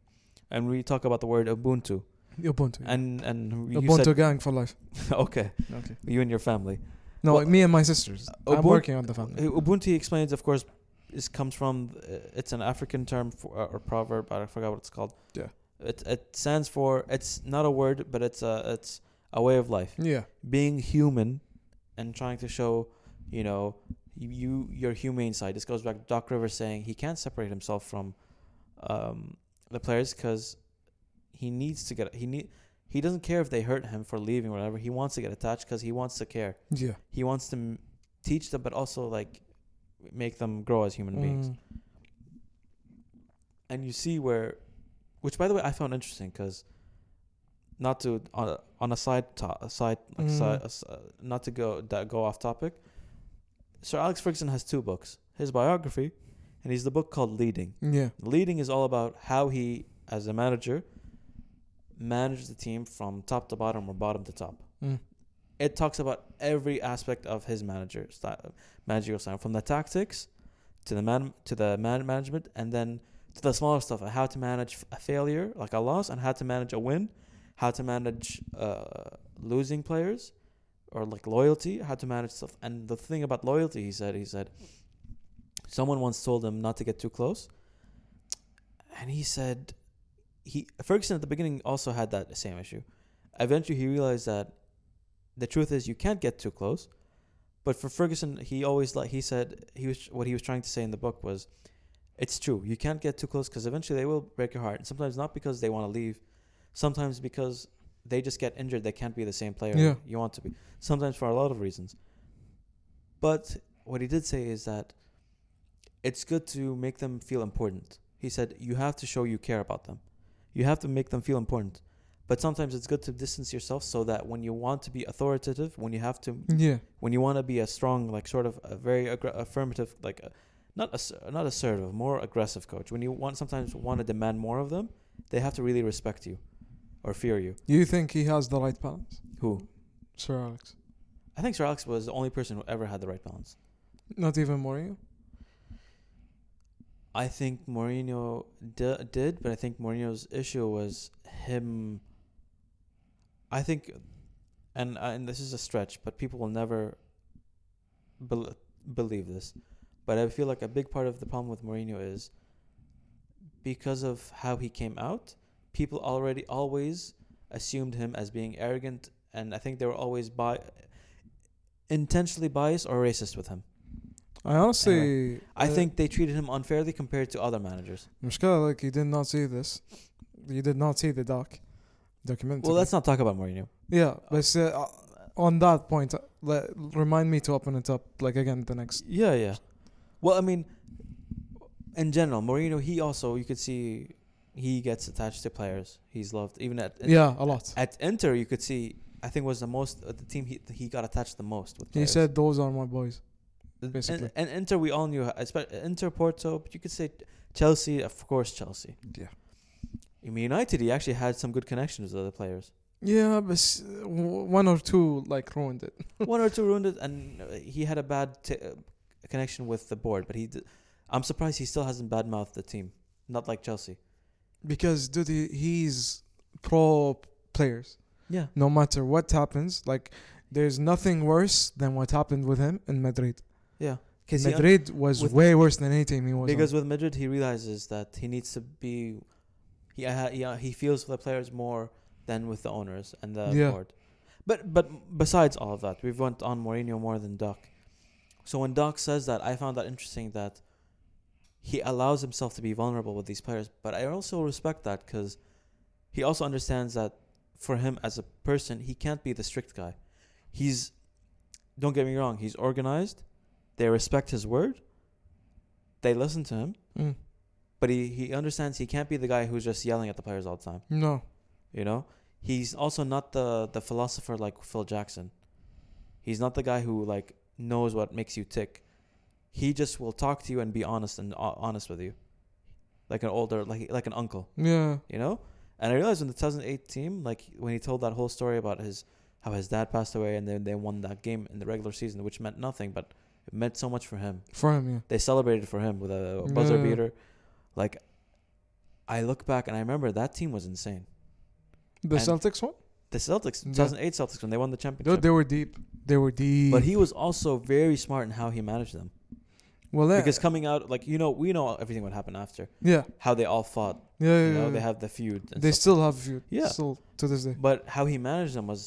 Speaker 2: and we talk about the word Ubuntu.
Speaker 1: Ubuntu.
Speaker 2: And and you
Speaker 1: Ubuntu gang for life.
Speaker 2: said okay,
Speaker 1: Okay.
Speaker 2: you and your family.
Speaker 1: No,
Speaker 2: Well,
Speaker 1: me and my sisters. I'm
Speaker 2: Ubuntu-
Speaker 1: working on the family.
Speaker 2: Ubuntu explains, of course, is comes from uh, it's an African term for, uh, or proverb. I forgot what it's called.
Speaker 1: Yeah.
Speaker 2: It it stands for it's not a word, but it's a it's a way of life.
Speaker 1: Yeah.
Speaker 2: being human and trying to show, you know, you your humane side. This goes back to Doc Rivers saying he can't separate himself from um, the players because he needs to get he need he doesn't care if they hurt him for leaving or whatever. He wants to get attached because he wants to care.
Speaker 1: Yeah.
Speaker 2: He wants to m- teach them, but also like make them grow as human beings
Speaker 1: Mm.
Speaker 2: and you see where, which by the way I found interesting because, not to on a, on a side to, a side like
Speaker 1: Mm.
Speaker 2: side, a s- uh, not to go that go off topic. Sir Alex Ferguson has two books: his biography, and he's the book called Leading.
Speaker 1: Yeah.
Speaker 2: Leading is all about how he, as a manager, managed the team from top to bottom or bottom to top.
Speaker 1: Mm.
Speaker 2: It talks about every aspect of his manager style, managerial style, from the tactics to the man to the man management, and then to the smaller stuff, how to manage a failure like a loss, and how to manage a win, how to manage uh, losing players, or like loyalty, how to manage stuff. And the thing about loyalty, he said, he said, someone once told him not to get too close, and he said, he Ferguson at the beginning also had that same issue. Eventually, he realized that the truth is you can't get too close. But for Ferguson, he always like he said he was what he was trying to say in the book was, it's true you can't get too close because eventually they will break your heart. And sometimes not because they want to leave, sometimes because they just get injured. They can't be the same player
Speaker 1: Yeah.
Speaker 2: you want to be. Sometimes for a lot of reasons. But what he did say is that it's good to make them feel important. He said you have to show you care about them. You have to make them feel important. But sometimes it's good to distance yourself so that when you want to be authoritative, when you have to
Speaker 1: Yeah.
Speaker 2: when you want to be a strong, like sort of a very aggra- affirmative, like a, not ass- not assertive, more aggressive coach. When you want sometimes want to demand more of them, they have to really respect you or fear you.
Speaker 1: You think he has the right balance,
Speaker 2: Who?
Speaker 1: Sir Alex?
Speaker 2: I think Sir Alex was the only person who ever had the right balance.
Speaker 1: Not even Mourinho.
Speaker 2: I think Mourinho d- did, but I think Mourinho's issue was him. I think, and uh, and this is a stretch, but people will never bel believe this. But I feel like a big part of the problem with Mourinho is because of how he came out. People already always assumed him as being arrogant, and I think they were always bi- intentionally biased or racist with him.
Speaker 1: I honestly.
Speaker 2: I
Speaker 1: uh,
Speaker 2: think they treated him unfairly compared to other managers.
Speaker 1: Mushkala, like you did not see this. You did not see the doc documentary.
Speaker 2: Well, let's not talk about Mourinho.
Speaker 1: yeah, but uh, on that point, uh, le- remind me to open it up like again the next.
Speaker 2: Yeah, yeah. Well, I mean, in general, Mourinho, he also you could see he gets attached to players. He's loved even at
Speaker 1: Yeah, a lot.
Speaker 2: at Inter. You could see I think was the most uh, the team he he got attached the most with.
Speaker 1: He
Speaker 2: players.
Speaker 1: said those are my boys.
Speaker 2: And-
Speaker 1: basically.
Speaker 2: and, Inter we all knew, especially Inter Porto, but you could say Chelsea, of course Chelsea.
Speaker 1: Yeah.
Speaker 2: I mean, United, he actually had some good connections with other players.
Speaker 1: Yeah, but s- w- one or two like ruined it.
Speaker 2: One or two ruined it, and uh, he had a bad t- uh, connection with the board. But he, d- I'm surprised he still hasn't badmouthed the team. Not like Chelsea.
Speaker 1: Because dude, he, he's pro players.
Speaker 2: Yeah.
Speaker 1: No matter what happens, like there's nothing worse than what happened with him in Madrid.
Speaker 2: Yeah. Because
Speaker 1: Madrid was
Speaker 2: with-
Speaker 1: way worse than any team he was. on.
Speaker 2: because with Madrid he realizes that he needs to be he uh, he, uh, he feels for the players more than with the owners and the
Speaker 1: Yeah.
Speaker 2: board. But but besides all of that, we've went on Mourinho more than Doc. So when Doc says that, I found that interesting that he allows himself to be vulnerable with these players, but I also respect that cuz he also understands that for him as a person, he can't be the strict guy. He's don't get me wrong, he's organized. They respect his word. They listen to him,
Speaker 1: Mm.
Speaker 2: but he, he understands he can't be the guy who's just yelling at the players all the time.
Speaker 1: no,
Speaker 2: You know, he's also not the the philosopher like Phil Jackson. He's not the guy who like knows what makes you tick. He just will talk to you and be honest and ho- honest with you, like an older like like an uncle
Speaker 1: yeah,
Speaker 2: you know. And I realized in the 2008 team, like when he told that whole story about his how his dad passed away, and then they won that game in the regular season, which meant nothing, but it meant so much for him.
Speaker 1: for him, yeah.
Speaker 2: They celebrated for him with a buzzer
Speaker 1: Yeah.
Speaker 2: beater. Like, I look back and I remember that team was insane.
Speaker 1: The
Speaker 2: And-
Speaker 1: Celtics one.
Speaker 2: The Celtics,
Speaker 1: Yeah.
Speaker 2: 2008 Celtics, when they won the
Speaker 1: Dude,
Speaker 2: championship.
Speaker 1: they were deep. They were deep.
Speaker 2: but he was also very smart in how he managed them
Speaker 1: well, yeah,
Speaker 2: because coming out, like you know, we know everything what happened after
Speaker 1: yeah,
Speaker 2: how they all fought.
Speaker 1: yeah, yeah.
Speaker 2: You know,
Speaker 1: yeah.
Speaker 2: they have the feud. and
Speaker 1: They
Speaker 2: stuff.
Speaker 1: still have you.
Speaker 2: Yeah.
Speaker 1: still to this day.
Speaker 2: But how he managed them was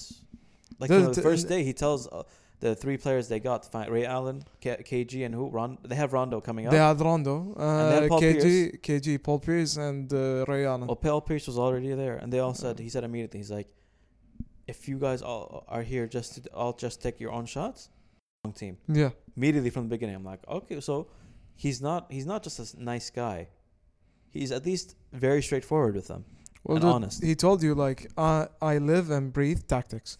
Speaker 2: like
Speaker 1: Does
Speaker 2: you know,
Speaker 1: it-
Speaker 2: the first day he tells uh, the three players they got fi- Ray Allen, K- KG, and who Ron. They have Rondo coming up.
Speaker 1: They had Rondo,
Speaker 2: they
Speaker 1: uh,
Speaker 2: had Paul
Speaker 1: KG, KG, Paul Pierce, and uh, Ray Allen.
Speaker 2: well, Paul Pierce was already there, and they all said
Speaker 1: Uh-huh.
Speaker 2: he said immediately he's like, if you guys all are here just to all just take your own shots, wrong team.
Speaker 1: Yeah,
Speaker 2: Immediately from the beginning, I'm like, okay, so he's not he's not just a s- nice guy. He's at least very straightforward with them.
Speaker 1: well,
Speaker 2: and
Speaker 1: dude,
Speaker 2: honest.
Speaker 1: he told you like I I live and breathe tactics.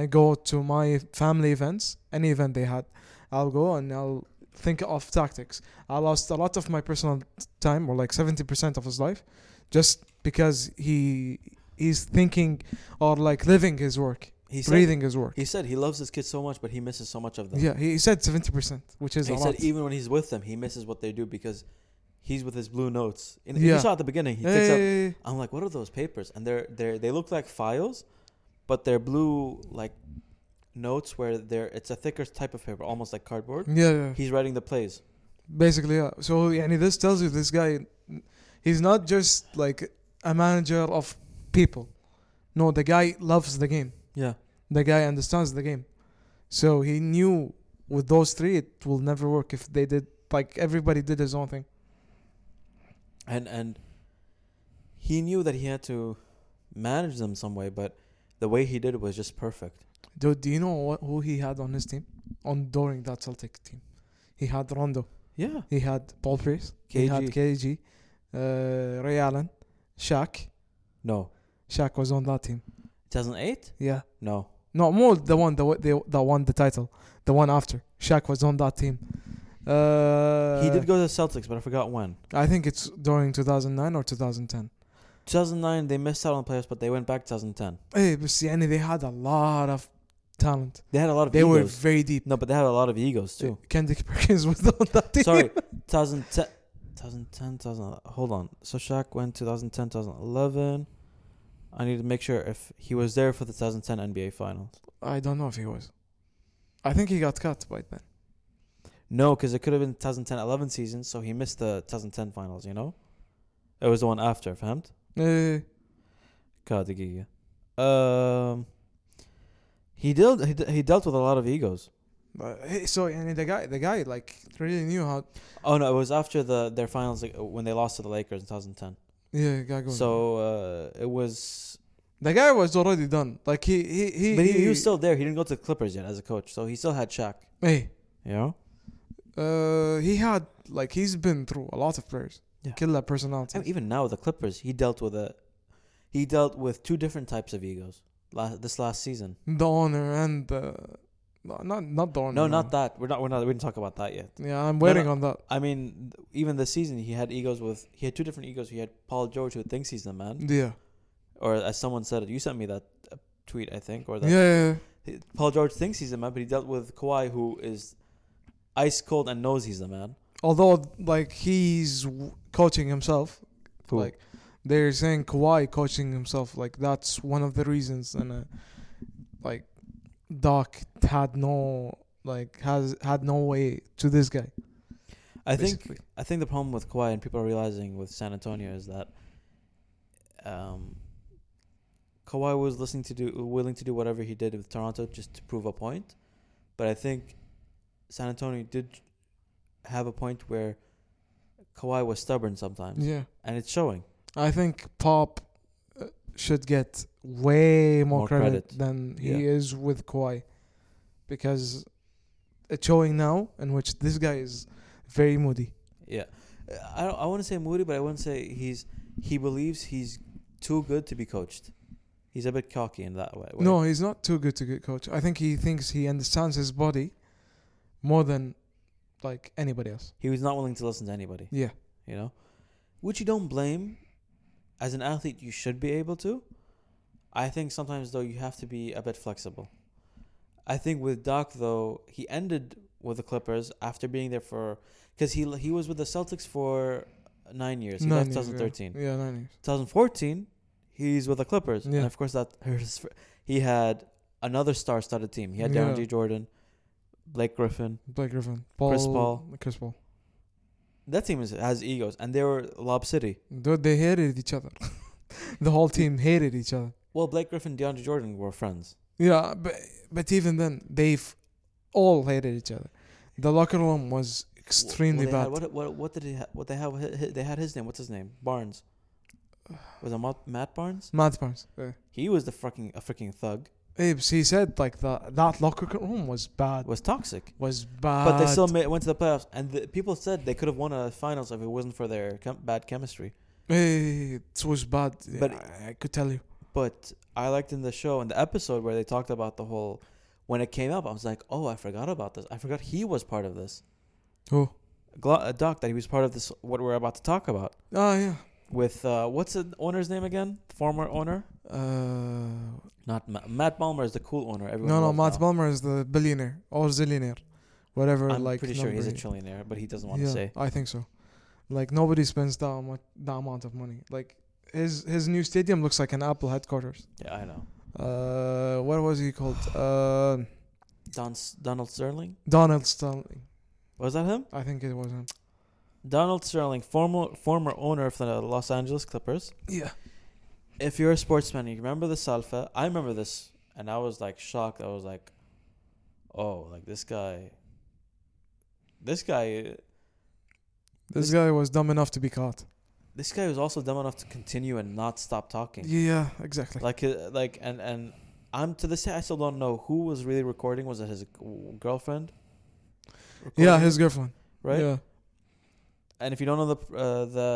Speaker 1: I go to my family events, any event they had. I'll go and I'll think of tactics. I lost a lot of my personal time, or like seventy percent of his life, just because he he's thinking or like living his work,
Speaker 2: He said,
Speaker 1: breathing his work.
Speaker 2: He said he loves his kids so much, but he misses so much of them.
Speaker 1: Yeah, he he said seventy percent, which is
Speaker 2: And
Speaker 1: a
Speaker 2: he
Speaker 1: lot.
Speaker 2: said even when he's with them, he misses what they do because he's with his blue notes. And
Speaker 1: Yeah.
Speaker 2: you saw at the beginning, he takes out.
Speaker 1: Hey,
Speaker 2: I'm like, what are those papers? And they're they they look like files, but they're blue like notes where they're it's a thicker type of paper, almost like cardboard.
Speaker 1: yeah, yeah.
Speaker 2: He's writing the plays.
Speaker 1: basically, yeah. So, yeah, and this tells you this guy, he's not just like a manager of people. No, the guy loves the game.
Speaker 2: Yeah.
Speaker 1: The guy understands the game. So he knew with those three, it will never work if they did like everybody did his own thing.
Speaker 2: And and he knew that he had to manage them some way, but the way he did it was just perfect.
Speaker 1: Dude, do you know what, who he had on his team? On during that Celtic team, he had Rondo,
Speaker 2: Yeah.
Speaker 1: he had Paul Pierce, he had KG, uh, Ray Allen, Shaq.
Speaker 2: No.
Speaker 1: Shaq was on that team.
Speaker 2: 2008?
Speaker 1: Yeah,
Speaker 2: No.
Speaker 1: no, more the one that wa- they, that won the title, the one after. Shaq was on that team. Uh,
Speaker 2: he did go to the Celtics, but I forgot when.
Speaker 1: I think it's during 2009 or 2010.
Speaker 2: 2009, they missed out on the playoffs, but they went back 2010.
Speaker 1: Hey, but see, and they had a lot of talent.
Speaker 2: They had a lot of
Speaker 1: They were
Speaker 2: egos.
Speaker 1: very deep.
Speaker 2: no, but they had a lot of egos, too.
Speaker 1: Kendrick Perkins was on that team.
Speaker 2: Sorry, 2010, 2010, 2011. Hold on. So Shaq went 2010, 2011. I need to make sure if he was there for the 2010 NBA Finals.
Speaker 1: I don't know if he was. I think he got cut by then.
Speaker 2: No, because it could have been 2010 11 season, so he missed the 2010 Finals, you know? It was the one after, فهمت?
Speaker 1: Uh,
Speaker 2: God, دقيقة. Um, he dealt he, de- he dealt with a lot of egos.
Speaker 1: but hey, so and the guy, the guy like really knew how.
Speaker 2: Oh no, it was after the their finals like, when they lost to the Lakers in 2010.
Speaker 1: Yeah, guy going.
Speaker 2: So uh, it was,
Speaker 1: the guy was already done. Like he, he, he.
Speaker 2: but he, he was still there. He didn't go to the Clippers yet as a coach, so he still had Shaq.
Speaker 1: Hey,
Speaker 2: You know,
Speaker 1: uh, he had like he's been through a lot of players.
Speaker 2: Yeah.
Speaker 1: Killer personality.
Speaker 2: I mean, even now with the Clippers, he dealt with a he dealt with two different types of egos last, this last season.
Speaker 1: the owner and the, Oh, no, not not the owner.
Speaker 2: No, not that. We're not. We're not. We didn't talk about that yet.
Speaker 1: Yeah, I'm waiting
Speaker 2: no.
Speaker 1: on that.
Speaker 2: I mean, th- even this season, he had egos with he had two different egos. He had Paul George, who thinks he's the man,
Speaker 1: Yeah.
Speaker 2: or as someone said it, you sent me that uh, tweet, I think, or that
Speaker 1: Yeah, yeah, yeah.
Speaker 2: Paul George thinks he's the man, but he dealt with Kawhi, who is ice cold and knows he's the man.
Speaker 1: Although, like, he's w- coaching himself. Like, they're saying Kawhi coaching himself. Like, that's one of the reasons. And, uh, like, Doc had no, like, has had no way to this guy.
Speaker 2: I think
Speaker 1: basically.
Speaker 2: I think the problem with Kawhi and people are realizing with San Antonio is that um, Kawhi was listening to do willing to do whatever he did with Toronto just to prove a point, but I think San Antonio did have a point where Kawhi was stubborn sometimes,
Speaker 1: Yeah.
Speaker 2: and it's showing.
Speaker 1: I think Pop uh, should get way more,
Speaker 2: More
Speaker 1: credit,
Speaker 2: credit.
Speaker 1: than he
Speaker 2: Yeah.
Speaker 1: is with Kawhi because it's showing now in which this guy is very moody.
Speaker 2: Yeah, Uh, I don't, I want to say moody, but I wouldn't say he's he believes he's too good to be coached. He's a bit cocky in that way.
Speaker 1: No, he's not too good to get coach. I think he thinks he understands his body more than like anybody else.
Speaker 2: he was not willing to listen to anybody.
Speaker 1: Yeah.
Speaker 2: you know, which you don't blame. As an athlete, you should be able to. I think sometimes though you have to be a bit flexible. I think with Doc though he ended with the Clippers after being there for because he he was with the Celtics for nine years. He left
Speaker 1: Nine years, yeah.
Speaker 2: 2013.
Speaker 1: Yeah, nine years.
Speaker 2: 2014, he's with the Clippers,
Speaker 1: Yeah.
Speaker 2: and of course that hurts. For, he had another star-studded team. He had Darren
Speaker 1: Yeah.
Speaker 2: G. Jordan, Blake Griffin.
Speaker 1: Blake Griffin, Paul,
Speaker 2: Chris
Speaker 1: Chris Paul.
Speaker 2: That team is, has egos, and they were Lob City.
Speaker 1: Dude, they hated each other. the whole team hated each other.
Speaker 2: Well, Blake Griffin, DeAndre Jordan were friends.
Speaker 1: Yeah, but but even then, they've all hated each other. The locker room was
Speaker 2: W- well,
Speaker 1: extremely
Speaker 2: they
Speaker 1: bad.
Speaker 2: Had, what, what what did he ha- what they have hi- hi- they had his name? What's his name? Barnes. Was it Matt, Matt Barnes?
Speaker 1: Mad Barnes. Yeah.
Speaker 2: He was the fucking a freaking thug.
Speaker 1: Apes, he said like that that locker room was bad.
Speaker 2: Was toxic.
Speaker 1: Was bad.
Speaker 2: But they still made, went to the playoffs, and the, people said they could have won a finals if it wasn't for their chem- bad chemistry.
Speaker 1: Hey, it was bad. But
Speaker 2: But-
Speaker 1: I, I could tell you.
Speaker 2: But I liked in the show in the episode where they talked about the whole when it came up. I was like, oh, I forgot about this. I forgot he was part of this.
Speaker 1: Who?
Speaker 2: Glo- uh, Doc, that he was part of this. What we're about to talk about
Speaker 1: Ah, yeah.
Speaker 2: with uh, what's the owner's name again? Former owner,
Speaker 1: Uh, no,
Speaker 2: not Ma- Matt Ballmer is the cool owner. Everyone
Speaker 1: no.
Speaker 2: loves
Speaker 1: Matt
Speaker 2: now.
Speaker 1: Balmer is the billionaire or zillionaire, whatever.
Speaker 2: I'm
Speaker 1: like,
Speaker 2: pretty sure he's a
Speaker 1: number
Speaker 2: trillionaire, but he doesn't
Speaker 1: he-
Speaker 2: want to say.
Speaker 1: I think so. Like nobody spends that much, that amount of money. Like his his new stadium looks like an Apple headquarters.
Speaker 2: Yeah, I know.
Speaker 1: Uh, what was he called? Uh,
Speaker 2: Don S- Donald Sterling
Speaker 1: Donald Sterling.
Speaker 2: was that him?
Speaker 1: I think it was him.
Speaker 2: Donald Sterling, former former owner of the Los Angeles Clippers.
Speaker 1: Yeah.
Speaker 2: if you're a sportsman, you remember the salfa. I remember this, and I was like shocked. I was like, "Oh, like this guy, this guy,
Speaker 1: This
Speaker 2: This-
Speaker 1: guy was dumb enough to be caught.
Speaker 2: this guy was also dumb enough to continue and not stop talking."
Speaker 1: Yeah, exactly.
Speaker 2: Like, uh, like, and and I'm to this day I still don't know who was really recording. Was it his g- girlfriend?
Speaker 1: Yeah,
Speaker 2: recording,
Speaker 1: his girlfriend.
Speaker 2: right.
Speaker 1: Yeah.
Speaker 2: And if you don't know the uh, the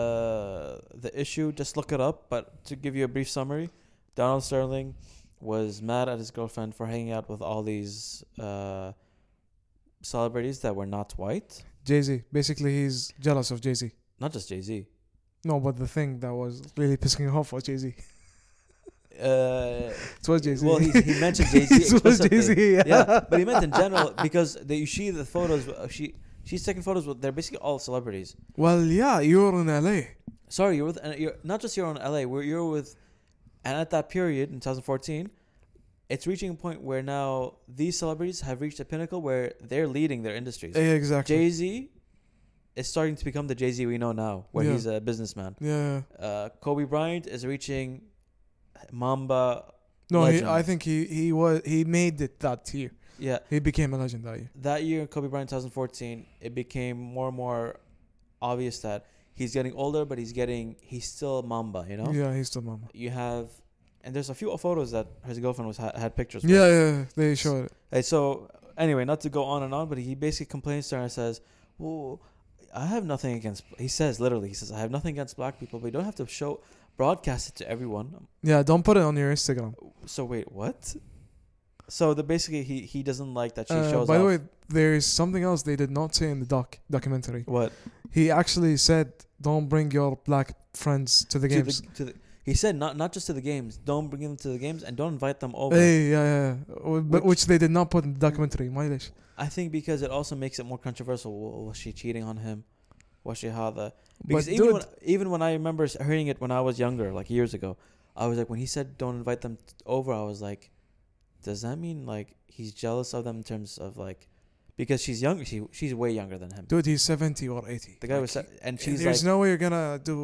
Speaker 2: the issue, just look it up. But to give you a brief summary, Donald Sterling was mad at his girlfriend for hanging out with all these uh, celebrities that were not white.
Speaker 1: Jay Z. Basically, he's jealous of Jay Z.
Speaker 2: Not just Jay Z.
Speaker 1: No, but the thing that was really pissing him off was Jay Z.
Speaker 2: Uh,
Speaker 1: It was Jay Z.
Speaker 2: Well, he, he mentioned Jay Z.
Speaker 1: it was Jay Z. Yeah.
Speaker 2: yeah, but he meant in general because they, you see the photos. uh, She she's taking photos with they're basically all celebrities.
Speaker 1: Well, yeah, you were in LA.
Speaker 2: Sorry, you're with and you're not just here on LA. Where you're with, and at that period in 2014, it's reaching a point where now these celebrities have reached a pinnacle where they're leading their industries.
Speaker 1: Yeah, exactly.
Speaker 2: Jay Z is starting to become the Jay Z we know now, where
Speaker 1: Yeah.
Speaker 2: he's a businessman.
Speaker 1: yeah.
Speaker 2: Uh, Kobe Bryant is reaching Mamba.
Speaker 1: No, he,
Speaker 2: Legend.
Speaker 1: I think he he was he made it that year.
Speaker 2: Yeah,
Speaker 1: He became a legend that year.
Speaker 2: that year, Kobe Bryant 2014, it became more and more obvious that he's getting older, but he's getting he's still Mamba, you know.
Speaker 1: Yeah, he's still mama.
Speaker 2: You have, and there's a few photos that his girlfriend was ha- had pictures. with.
Speaker 1: Yeah, yeah, yeah, they showed it.
Speaker 2: Hey, so anyway, not to go on and on, but he basically complains to her and says, "Well, I have nothing against." He says literally, he says, "I have nothing against black people, but you don't have to show broadcast it to everyone."
Speaker 1: Yeah, don't put it on your Instagram.
Speaker 2: So wait, what? So the basically he he doesn't like that she
Speaker 1: Uh,
Speaker 2: shows.
Speaker 1: by the
Speaker 2: off.
Speaker 1: way, there is something else they did not say in the doc documentary.
Speaker 2: what?
Speaker 1: He actually said, "Don't bring your black friends to the
Speaker 2: to the,
Speaker 1: games."
Speaker 2: to the, he said not not just to the games. Don't bring them to the games and don't invite them over.
Speaker 1: Hey, yeah, yeah, yeah. Uh, but
Speaker 2: Which-
Speaker 1: which they did not put in the documentary. My gosh.
Speaker 2: I think because it also makes it more controversial. W- Was she cheating on him? Was she hada?
Speaker 1: But
Speaker 2: Because even
Speaker 1: dude,
Speaker 2: when, even when I remember s- hearing it when I was younger, like years ago, I was like when he said don't invite them t- over, I was like, does that mean like he's jealous of them in terms of like because she's younger, she she's way younger than him.
Speaker 1: dude, he's seventy or eighty.
Speaker 2: The guy
Speaker 1: Like,
Speaker 2: was se- and
Speaker 1: he-
Speaker 2: she's
Speaker 1: There's
Speaker 2: like,
Speaker 1: no way you're gonna do.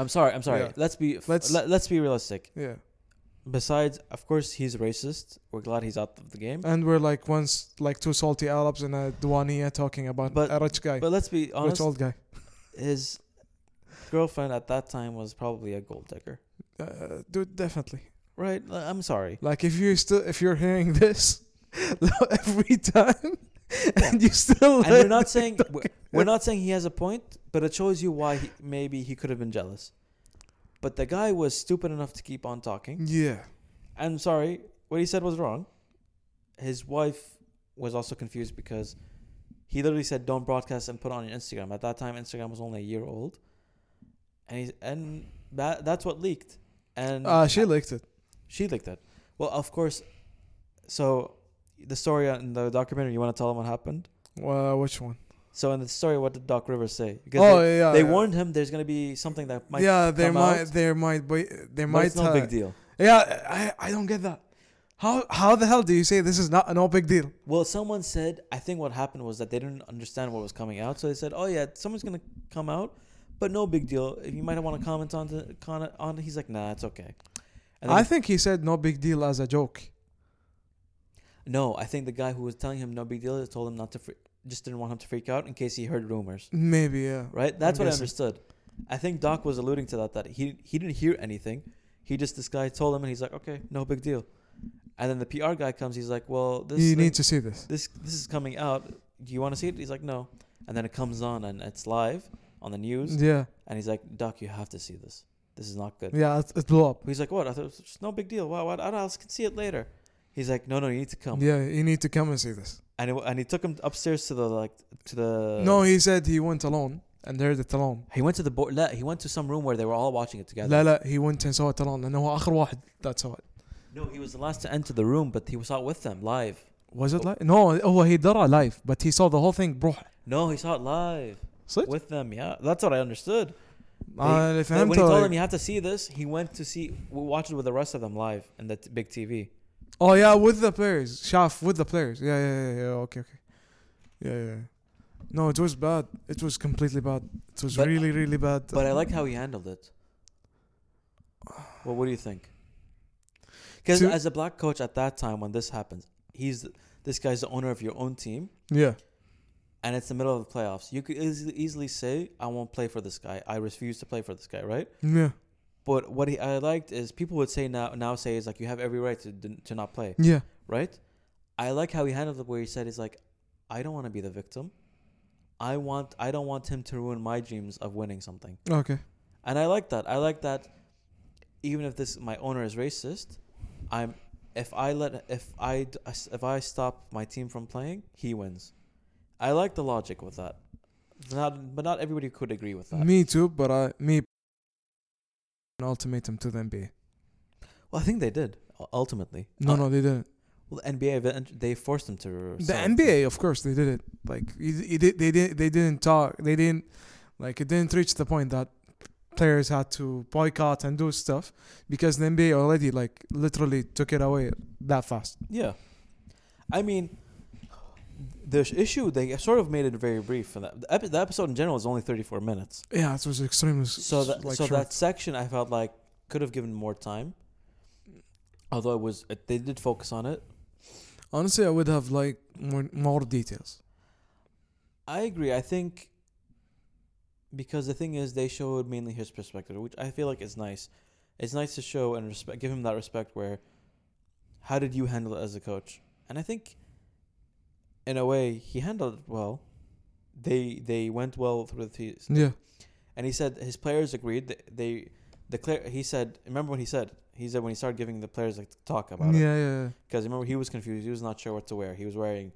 Speaker 2: I'm sorry, I'm sorry.
Speaker 1: Yeah.
Speaker 2: Let's be
Speaker 1: Let's-
Speaker 2: let's let, us let us be realistic.
Speaker 1: Yeah,
Speaker 2: Besides, of course, he's racist. We're glad he's out of the game.
Speaker 1: and we're like once like two salty Arabs and a Duania talking about
Speaker 2: But-
Speaker 1: a rich guy,
Speaker 2: But let's be
Speaker 1: rich
Speaker 2: honest.
Speaker 1: old guy.
Speaker 2: His girlfriend at that time was probably a gold digger,
Speaker 1: Uh, dude, definitely.
Speaker 2: right? L- I'm sorry.
Speaker 1: Like if you're still if you're hearing this every time and you still
Speaker 2: And we're not saying we're- we're not saying he has a point, but it shows you why he, maybe he could have been jealous. But the guy was stupid enough to keep on talking.
Speaker 1: Yeah.
Speaker 2: I'm sorry, what he said was wrong. His wife was also confused because he literally said, "Don't broadcast and put on your Instagram." At that time, Instagram was only a year old, and he's, and that that's what leaked. And
Speaker 1: Uh she liked it.
Speaker 2: She liked it. Well, of course. So, the story in the documentary, you want to tell them what happened?
Speaker 1: Well, which one?
Speaker 2: So, in the story, what did Doc Rivers say? Because
Speaker 1: Oh
Speaker 2: they,
Speaker 1: yeah.
Speaker 2: they
Speaker 1: yeah.
Speaker 2: warned him there's going to be something that might.
Speaker 1: yeah, there
Speaker 2: come
Speaker 1: might
Speaker 2: out,
Speaker 1: there might be there
Speaker 2: but
Speaker 1: might
Speaker 2: it's no
Speaker 1: uh,
Speaker 2: big deal.
Speaker 1: Yeah, I I don't get that. How how the hell do you say this is not a no big deal?
Speaker 2: Well, someone said, I think what happened was that they didn't understand what was coming out. So, they said, oh, yeah, someone's going to come out, but no big deal. If You might want to comment on the, con- on He's like, nah, it's okay. And then,
Speaker 1: I think he said no big deal as a joke.
Speaker 2: no, I think the guy who was telling him no big deal told him not to, fre- just didn't want him to freak out in case he heard rumors.
Speaker 1: Maybe yeah.
Speaker 2: right? That's
Speaker 1: I'm
Speaker 2: what I
Speaker 1: guessing.
Speaker 2: understood. I think Doc was alluding to that that he he didn't hear anything. He just this guy told him, and he's like, okay, no big deal. And then the PR guy comes, he's like, well, this
Speaker 1: you
Speaker 2: thing-
Speaker 1: need to see this.
Speaker 2: this this is coming out. Do you want to see it? He's like, no. And then it comes on and it's live on the news,
Speaker 1: Yeah.
Speaker 2: and he's like, Doc, you have to see this. This is not good.
Speaker 1: Yeah, it, it blew up.
Speaker 2: He's like, what? I thought it was just no big deal. Why? Why? I else can see it later. He's like, no, no, you need to come.
Speaker 1: Yeah, you need to come and see this.
Speaker 2: And it, and he took him upstairs to the like to the
Speaker 1: no, he said he went alone and heard it alone.
Speaker 2: He went to the board. He went to some room where they were all watching it together.
Speaker 1: لا لا he went and saw it alone لانه هو اخر واحد that saw it
Speaker 2: No, he was the last to enter the room, but he was out with them live.
Speaker 1: was it live no هو he درى live but he saw the whole thing بروح
Speaker 2: No, he saw it live
Speaker 1: صدق
Speaker 2: with them. Yeah, that's what I understood.
Speaker 1: انا اللي
Speaker 2: When he told him
Speaker 1: فهمته
Speaker 2: you have to see this, he went to see we watched it with the rest of them live in the t- big TV.
Speaker 1: oh yeah with the players شاف with the players yeah yeah yeah, yeah okay okay yeah yeah no it was bad it was completely bad it was
Speaker 2: But-
Speaker 1: really really bad
Speaker 2: But I like how he handled it. Well, what do you think? Because
Speaker 1: To-
Speaker 2: as a black coach at that time, when this happens, he's this guy's the owner of your own team,
Speaker 1: yeah
Speaker 2: and it's the middle of the playoffs. You could easily, easily say, "I won't play for this guy. I refuse to play for this guy." Right?
Speaker 1: yeah
Speaker 2: But what he, I liked is people would say now now say is like you have every right to to not play,
Speaker 1: Yeah.
Speaker 2: right? I like how he handled it where he said is like, I don't want to be the victim. I want I don't want him to ruin my dreams of winning something.
Speaker 1: Okay.
Speaker 2: And I like that. I like that. Even if this my owner is racist, I'm if I let if I d- if I stop my team from playing, he wins. I like the logic with that. Not, but not everybody could agree with that.
Speaker 1: Me too, but I me an ultimatum to the NBA.
Speaker 2: well, I think they did u- ultimately.
Speaker 1: No,
Speaker 2: Uh,
Speaker 1: no, they didn't.
Speaker 2: Well, NBA event- they forced them to.
Speaker 1: The
Speaker 2: sell it.
Speaker 1: NBA, of course, they did it. Like you- you did- they didn't, they didn't talk. They didn't like it didn't reach the point that players had to boycott and do stuff because the NBA already like literally took it away that fast.
Speaker 2: Yeah, I mean, the sh- issue they sort of made it very brief. And that the, epi- the episode in general is only thirty four minutes.
Speaker 1: Yeah, it was extremely s-
Speaker 2: So that
Speaker 1: like,
Speaker 2: so
Speaker 1: short.
Speaker 2: that section I felt like could have given more time. Although it was it, they did focus on it.
Speaker 1: honestly, I would have like more, more details.
Speaker 2: I agree. I think because the thing is they showed mainly his perspective, which I feel like is nice. It's nice to show and respect give him that respect where how did you handle it as a coach? And I think in a way he handled it well. They they went well through the
Speaker 1: Yeah,
Speaker 2: and he said his players agreed. That they declare. He said, remember what he said? He said when he started giving the players like to talk about
Speaker 1: yeah,
Speaker 2: it
Speaker 1: yeah.
Speaker 2: because remember he was confused. He was not sure what to wear. He was wearing.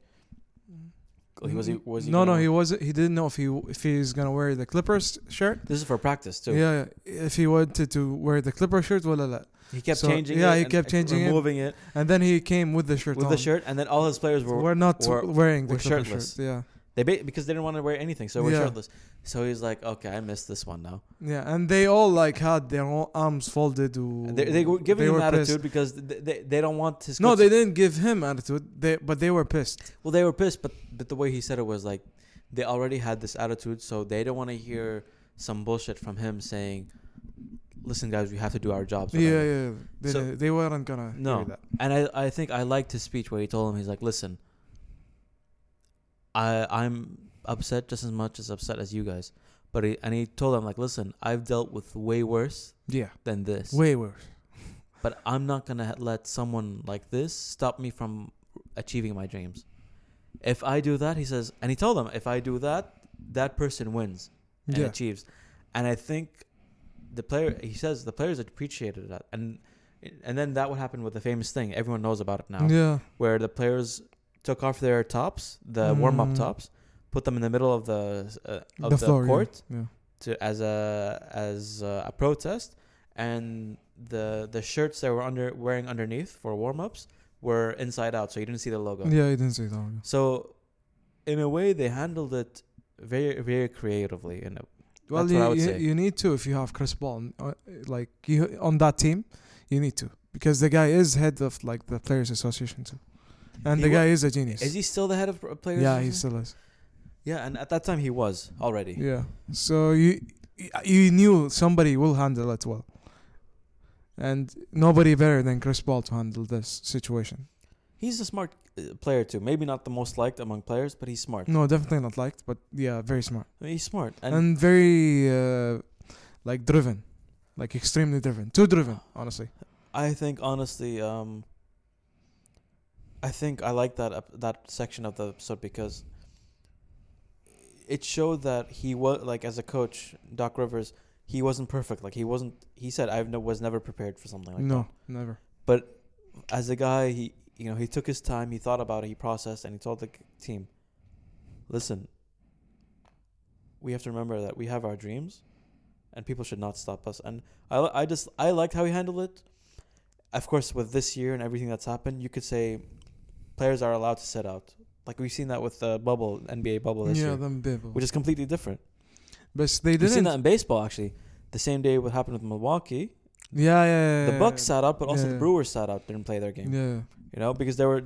Speaker 2: He was he was he
Speaker 1: Mm. no,
Speaker 2: gonna
Speaker 1: no, he
Speaker 2: wear-
Speaker 1: was he didn't know if he if he's gonna wear the Clippers shirt.
Speaker 2: This is for practice too.
Speaker 1: Yeah, yeah, if he wanted to wear the Clipper shirt, well, la.
Speaker 2: He kept
Speaker 1: So,
Speaker 2: changing.
Speaker 1: yeah,
Speaker 2: it
Speaker 1: he
Speaker 2: and
Speaker 1: kept changing it
Speaker 2: removing it,
Speaker 1: and then he came with the shirt
Speaker 2: with
Speaker 1: on.
Speaker 2: the shirt, and then all his players were
Speaker 1: we're not
Speaker 2: were-
Speaker 1: wearing the
Speaker 2: were
Speaker 1: Clipper
Speaker 2: shirtless.
Speaker 1: shirt. Yeah,
Speaker 2: they ba- because they didn't want to wear anything, so we're
Speaker 1: Yeah.
Speaker 2: shirtless. So he's like, okay, I missed this one now.
Speaker 1: yeah, and they all like had their own arms folded. Ooh,
Speaker 2: They, they were giving him attitude
Speaker 1: pissed.
Speaker 2: because they, they they don't want his.
Speaker 1: No,
Speaker 2: coach-
Speaker 1: they didn't give him attitude. They but they were pissed.
Speaker 2: Well, they were pissed, but but the way he said it was like they already had this attitude, so they don't want to hear some bullshit from him saying, "Listen, guys, we have to do our jobs."
Speaker 1: Yeah,
Speaker 2: whatever."
Speaker 1: yeah, yeah. They,
Speaker 2: So-
Speaker 1: they weren't gonna
Speaker 2: No.
Speaker 1: hear that.
Speaker 2: And I I think I liked his speech where he told him he's like, "Listen, I I'm upset just as much as upset as you guys." But he, and he told him like, "Listen, I've dealt with way worse
Speaker 1: Yeah,
Speaker 2: than this,
Speaker 1: way worse.
Speaker 2: but I'm not gonna ha- let someone like this stop me from achieving my dreams. If I do that, he says, and he told him, if I do that, that person wins." and
Speaker 1: Yeah,
Speaker 2: achieves. And I think the player, he says, the players appreciated that, and and then that would happen with the famous thing everyone knows about it now,
Speaker 1: yeah,
Speaker 2: where the players took off their tops, the warm up
Speaker 1: Mm.
Speaker 2: tops, put them in the middle of the uh, of
Speaker 1: the
Speaker 2: the,
Speaker 1: floor. yeah,
Speaker 2: court
Speaker 1: Yeah,
Speaker 2: to as a as a, a protest, and the the shirts they were under wearing underneath for warm ups were inside out, so you didn't see the logo.
Speaker 1: yeah. I didn't say that. one.
Speaker 2: So, in a way, they handled it very very creatively. In a,
Speaker 1: Well,
Speaker 2: That's
Speaker 1: you,
Speaker 2: what I would
Speaker 1: you,
Speaker 2: say.
Speaker 1: you need to if you have Chris Paul, on- uh, like you on that team, you need to because the guy is head of like the players' association too, and
Speaker 2: He
Speaker 1: the
Speaker 2: wa-
Speaker 1: guy is a genius.
Speaker 2: Is he still the head of pr- players?
Speaker 1: yeah, he
Speaker 2: association?
Speaker 1: still is.
Speaker 2: Yeah, and at that time he was already.
Speaker 1: Yeah. So you you knew somebody will handle it well, and nobody better than Chris Paul to handle this situation.
Speaker 2: He's a smart uh, player too. Maybe not the most liked among players, but he's smart.
Speaker 1: No, definitely not liked, but yeah, very smart
Speaker 2: I mean, he's smart. And,
Speaker 1: Mm. and, very uh, like driven, like extremely driven, too driven, honestly.
Speaker 2: Ah. I think honestly, um, I think I like that ep- that section of the episode because it showed that he was like as a coach, Doc Rivers, he wasn't perfect. Like he wasn't. He said, "I've no, was never prepared for something like that."
Speaker 1: no, never.
Speaker 2: But as a guy, he you know he took his time, he thought about it, he processed, and he told the c- team, "Listen, we have to remember that we have our dreams, and people should not stop us." And I li- I just I liked how he handled it. Of course, with this year and everything that's happened, you could say players are allowed to sit out. Like we've seen that with the bubble NBA bubble this
Speaker 1: yeah,
Speaker 2: year,
Speaker 1: them people.
Speaker 2: which is completely different.
Speaker 1: But they
Speaker 2: We've seen
Speaker 1: didn't.
Speaker 2: that in baseball actually. The same day what happened with Milwaukee,
Speaker 1: Yeah, yeah, yeah.
Speaker 2: the Bucks sat out, but also
Speaker 1: yeah.
Speaker 2: the Brewers sat out, didn't play their game.
Speaker 1: Yeah,
Speaker 2: you know because there were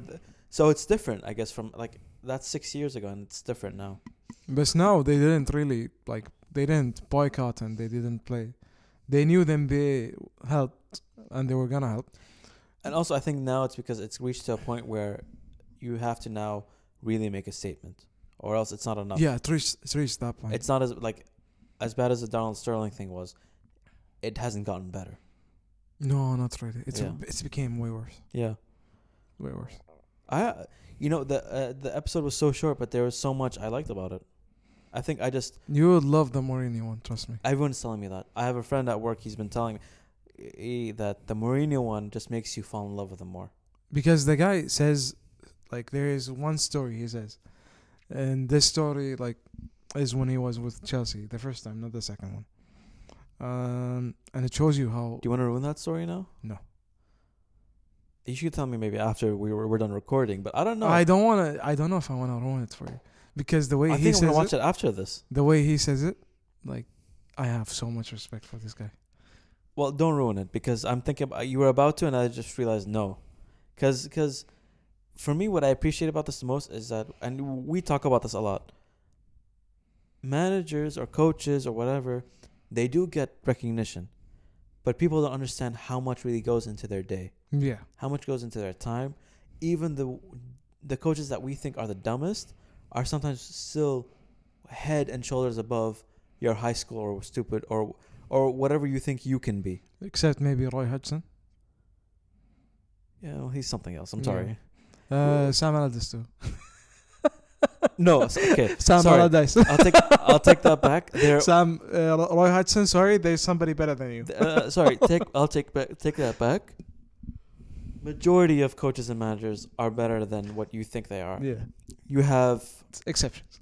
Speaker 2: so it's different i guess from like that's six years ago and it's different now
Speaker 1: but now they didn't really like they didn't boycott and they didn't play. They knew the NBA helped and they were gonna help.
Speaker 2: and also i think now it's because it's reached to a point where you have to now really make a statement or else it's not enough
Speaker 1: Yeah, it reached, it reached that point.
Speaker 2: it's not as like as bad as the donald sterling thing was it hasn't gotten better.
Speaker 1: No, not really. It's
Speaker 2: Yeah.
Speaker 1: it's became way worse.
Speaker 2: Yeah.
Speaker 1: Way worse.
Speaker 2: I you know the uh, the episode was so short but there was so much I liked about it. I think I just
Speaker 1: You would love the Mourinho one, trust me.
Speaker 2: everyone's telling me that. I have a friend at work he's been telling me eh, that the Mourinho one just makes you fall in love with him more.
Speaker 1: Because the guy says like there is one story he says. And this story like is when he was with Chelsea, the first time, not the second one. Um and it shows you how
Speaker 2: Do you want to ruin that story now?
Speaker 1: No.
Speaker 2: You should tell me maybe after we were, we're done recording, but I don't know.
Speaker 1: I don't wanna I don't know if I wanna ruin it for you. Because the way
Speaker 2: I
Speaker 1: he
Speaker 2: think I'm
Speaker 1: says
Speaker 2: gonna
Speaker 1: it,
Speaker 2: watch it after this.
Speaker 1: the way he says it, like I have so much respect for this guy.
Speaker 2: Well, don't ruin it because I'm thinking about, you were about to, and I just realized no, because because for me, what I appreciate about this the most is that, and we talk about this a lot. Managers or coaches or whatever, they do get recognition, but people don't understand how much really goes into their day,
Speaker 1: Yeah.
Speaker 2: how much goes into their time. Even the the coaches that we think are the dumbest are sometimes still head and shoulders above your high school or stupid or or whatever you think you can be.
Speaker 1: Except maybe Roy Hudson.
Speaker 2: Yeah, well, he's something else. I'm
Speaker 1: Yeah.
Speaker 2: sorry.
Speaker 1: Uh, Sam Allardyce too.
Speaker 2: No, it's okay.
Speaker 1: Sam
Speaker 2: Sorry.
Speaker 1: Allardyce.
Speaker 2: I'll take I'll take that back. There,
Speaker 1: Sam uh, Ro- Roy Hudson. Sorry, there's somebody better than you.
Speaker 2: uh, sorry. Take I'll take back take that back. Majority of coaches and managers are better than what you think they are.
Speaker 1: Yeah,
Speaker 2: You have
Speaker 1: it's exceptions.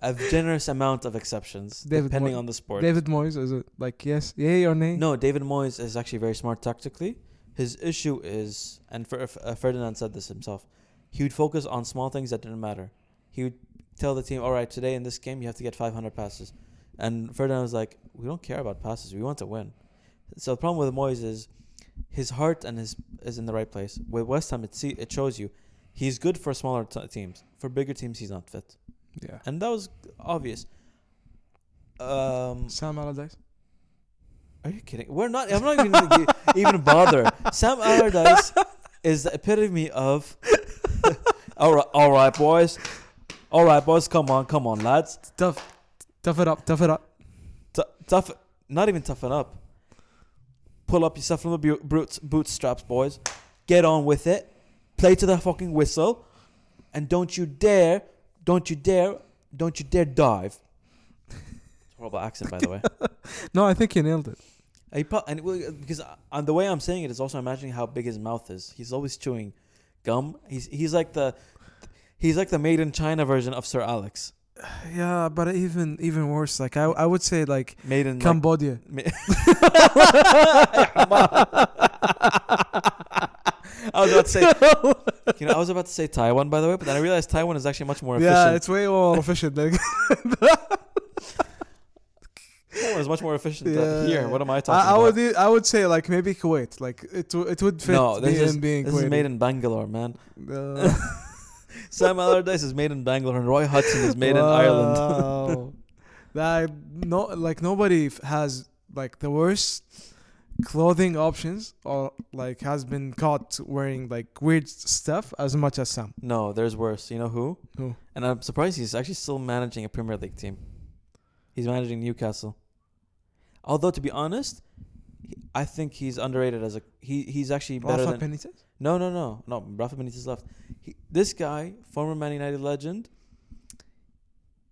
Speaker 2: a generous amount of exceptions
Speaker 1: David
Speaker 2: depending
Speaker 1: Moy-
Speaker 2: on the sport.
Speaker 1: David Moyes is it like yes, yay or nay?
Speaker 2: No, David Moyes is actually very smart tactically. His issue is, and Fer- uh, Ferdinand said this himself, he would focus on small things that didn't matter. He would tell the team, all right, today in this game, you have to get 500 passes. And Ferdinand was like, we don't care about passes. We want to win. So the problem with Moyes is his heart and his is in the right place. With West Ham, it, see, it shows you he's good for smaller t- teams. For bigger teams, he's not fit.
Speaker 1: Yeah.
Speaker 2: And that was obvious. Um,
Speaker 1: Sam Allardyce.
Speaker 2: are you kidding? We're not. I'm not even gonna gi- even bother. Sam Allardyce is the epitome of. all right, all right, boys. All right, boys. Come on, come on, lads.
Speaker 1: Tough, tough it up, tough it up.
Speaker 2: T- tough. Not even toughen up. Pull up yourself from the bu- brutes, bootstraps, boys. Get on with it. Play to the fucking whistle, and don't you dare, don't you dare, don't you dare dive. Horrible accent, by the way.
Speaker 1: No, I think he nailed it.
Speaker 2: He pro- and it will- because uh, on the way I'm saying it is also imagining how big his mouth is. He's always chewing gum. He's he's like the he's like the made in China version of Sir Alex.
Speaker 1: Yeah, but even even worse. Like I I would say like
Speaker 2: Made in like,
Speaker 1: Cambodia.
Speaker 2: ma- I was about to say, you know, I was about to say Taiwan, by the way, but then I realized Taiwan is actually much more efficient.
Speaker 1: Yeah, it's way more efficient. Like
Speaker 2: Taiwan is much more efficient
Speaker 1: Yeah.
Speaker 2: than here. What am I talking
Speaker 1: I, I
Speaker 2: about?
Speaker 1: would e- I would say like maybe Kuwait. Like it w- it would fit
Speaker 2: no, this
Speaker 1: being,
Speaker 2: is
Speaker 1: being
Speaker 2: this is
Speaker 1: Kuwaiti.
Speaker 2: made in Bangalore, man.
Speaker 1: Uh,
Speaker 2: Sam Allardyce is made in Bangalore, and Roy Hudson is made in Ireland.
Speaker 1: Wow. that no, like nobody f- has like the worst clothing options or like has been caught wearing like weird stuff as much as Sam.
Speaker 2: No, there's worse. You know who?
Speaker 1: Who?
Speaker 2: And I'm surprised he's actually still managing a Premier League team. He's managing Newcastle. Although to be honest, he- I think he's underrated as a he. He's actually better
Speaker 1: Rafa
Speaker 2: than
Speaker 1: Benitez.
Speaker 2: no, no, no, no. Rafa Benitez left. He, this guy, former Man United legend,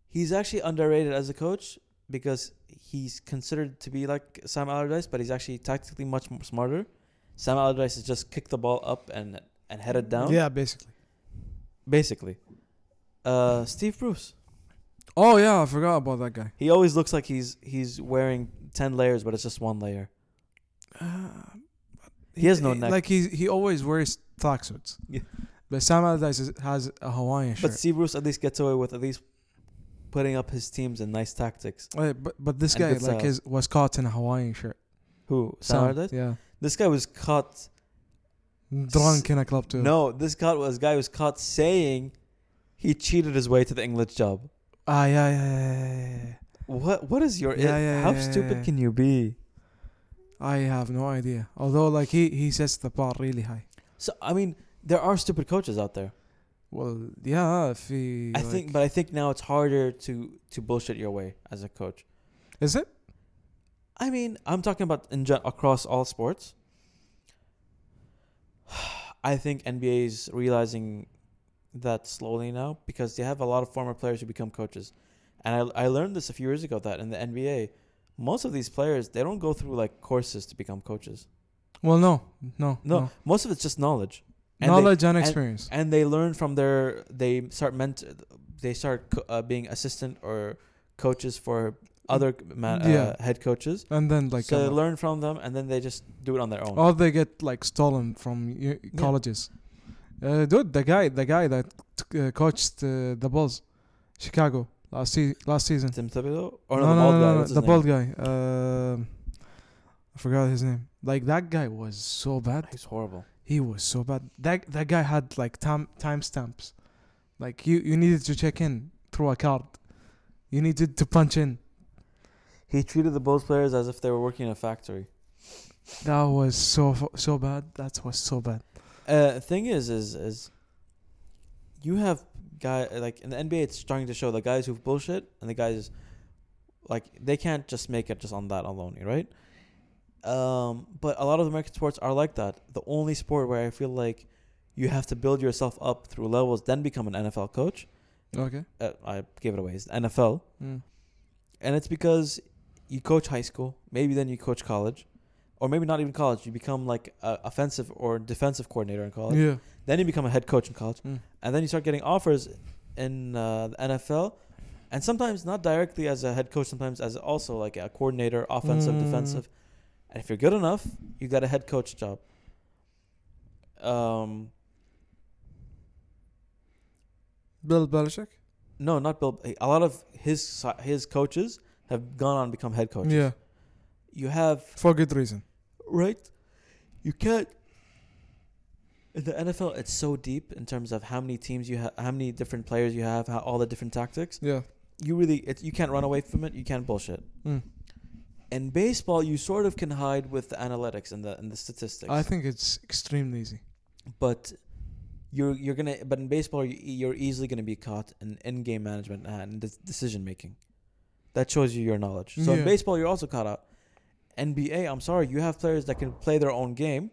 Speaker 2: he's actually underrated as a coach because he's considered to be like Sam Allardyce, but he's actually tactically much more smarter. Sam Allardyce is just kick the ball up and and head it down.
Speaker 1: Yeah, basically.
Speaker 2: basically. Uh, Steve Bruce.
Speaker 1: Oh yeah, I forgot about that guy.
Speaker 2: He always looks like he's he's wearing ten layers, but it's just one layer.
Speaker 1: Uh,
Speaker 2: He has no neck.
Speaker 1: Like he he always wears tracksuits.
Speaker 2: Yeah.
Speaker 1: But Sam Allardyce is, has a Hawaiian shirt.
Speaker 2: But Steve Bruce at least gets away with at least putting up his teams in nice tactics.
Speaker 1: Wait, Eh, but but this
Speaker 2: And
Speaker 1: guy
Speaker 2: good
Speaker 1: like
Speaker 2: style.
Speaker 1: is was caught in a Hawaiian shirt.
Speaker 2: Who
Speaker 1: Sam,
Speaker 2: Sam Allardyce?
Speaker 1: Yeah.
Speaker 2: This guy was caught.
Speaker 1: Drunk in a club too.
Speaker 2: No, this guy was guy was caught saying he cheated his way to the English job.
Speaker 1: Ah yeah yeah yeah, yeah, yeah, yeah.
Speaker 2: What what is your?
Speaker 1: Yeah, yeah,
Speaker 2: how
Speaker 1: yeah, yeah,
Speaker 2: stupid
Speaker 1: yeah.
Speaker 2: can you be?
Speaker 1: I have no idea. Although, like he he sets the bar really high.
Speaker 2: So I mean, there are stupid coaches out there.
Speaker 1: Well, yeah, if he.
Speaker 2: I
Speaker 1: like-
Speaker 2: think, but I think now it's harder to to bullshit your way as a coach.
Speaker 1: is it?
Speaker 2: I mean, I'm talking about in gen- across all sports. I think NBA is realizing that slowly now because they have a lot of former players who become coaches, and I I learned this a few years ago that in the NBA, most of these players they don't go through like courses to become coaches.
Speaker 1: Well, no, no,
Speaker 2: No,
Speaker 1: no.
Speaker 2: most of it's just knowledge. And they-
Speaker 1: Knowledge and experience.
Speaker 2: and they learn from their they start ment they start co- uh, being assistant or coaches for other ma-
Speaker 1: Mm, Yeah.
Speaker 2: uh, head coaches
Speaker 1: And, then like
Speaker 2: so they
Speaker 1: uh,
Speaker 2: learn from them and then they just do it on their own
Speaker 1: or they get like stolen from u- colleges. Uh, dude, the guy, the guy that t- uh, coached uh, the Bulls, Chicago last se- last season.
Speaker 2: Tim Thibodeau or Oh, no, the bald guy what's his
Speaker 1: the
Speaker 2: name?
Speaker 1: bald guy. Um, I forgot his name. Like that guy was so bad.
Speaker 2: he's horrible
Speaker 1: He was so bad. That that guy had like time timestamps. Like you you needed to check in through a card. You needed to punch in.
Speaker 2: he treated the Bulls players as if they were working in a factory
Speaker 1: That was so fu- so bad. That was so bad.
Speaker 2: uh thing is is is you have guy like in the NBA it's starting to show the guys who bullshit and the guys like they can't just make it just on that alone, right? Um, but a lot of American sports are like that. The only sport where I feel like you have to build yourself up through levels, then become an NFL coach.
Speaker 1: Okay.
Speaker 2: Uh, I gave it away. It's the NFL,
Speaker 1: Mm.
Speaker 2: and it's because you coach high school, maybe then you coach college, or maybe not even college. You become like a offensive or defensive coordinator in college.
Speaker 1: Yeah.
Speaker 2: Then you become a head coach in college,
Speaker 1: Mm.
Speaker 2: and then you start getting offers in uh, the NFL, and sometimes not directly as a head coach, sometimes as also like a coordinator, offensive,
Speaker 1: Mm.
Speaker 2: defensive. And if you're good enough, you got a head coach job. Um,
Speaker 1: Bill Belichick.
Speaker 2: no, not Bill. A lot of his si- his coaches have gone on and become head coaches.
Speaker 1: Yeah.
Speaker 2: You have
Speaker 1: For good reason.
Speaker 2: right? You can't. In the NFL, it's so deep in terms of how many teams you have, how many different players you have, how all the different tactics.
Speaker 1: Yeah.
Speaker 2: You really, it's you can't run away from it. You can't bullshit.
Speaker 1: Mm.
Speaker 2: In baseball, you sort of can hide with the analytics and the and the statistics.
Speaker 1: I think it's extremely easy.
Speaker 2: but you're you're gonna, but in baseball, you, you're easily gonna be caught in in-game management and de- decision making. That shows you your knowledge. So in
Speaker 1: Yeah.
Speaker 2: baseball, you're also caught out. NBA, I'm sorry, you have players that can play their own game,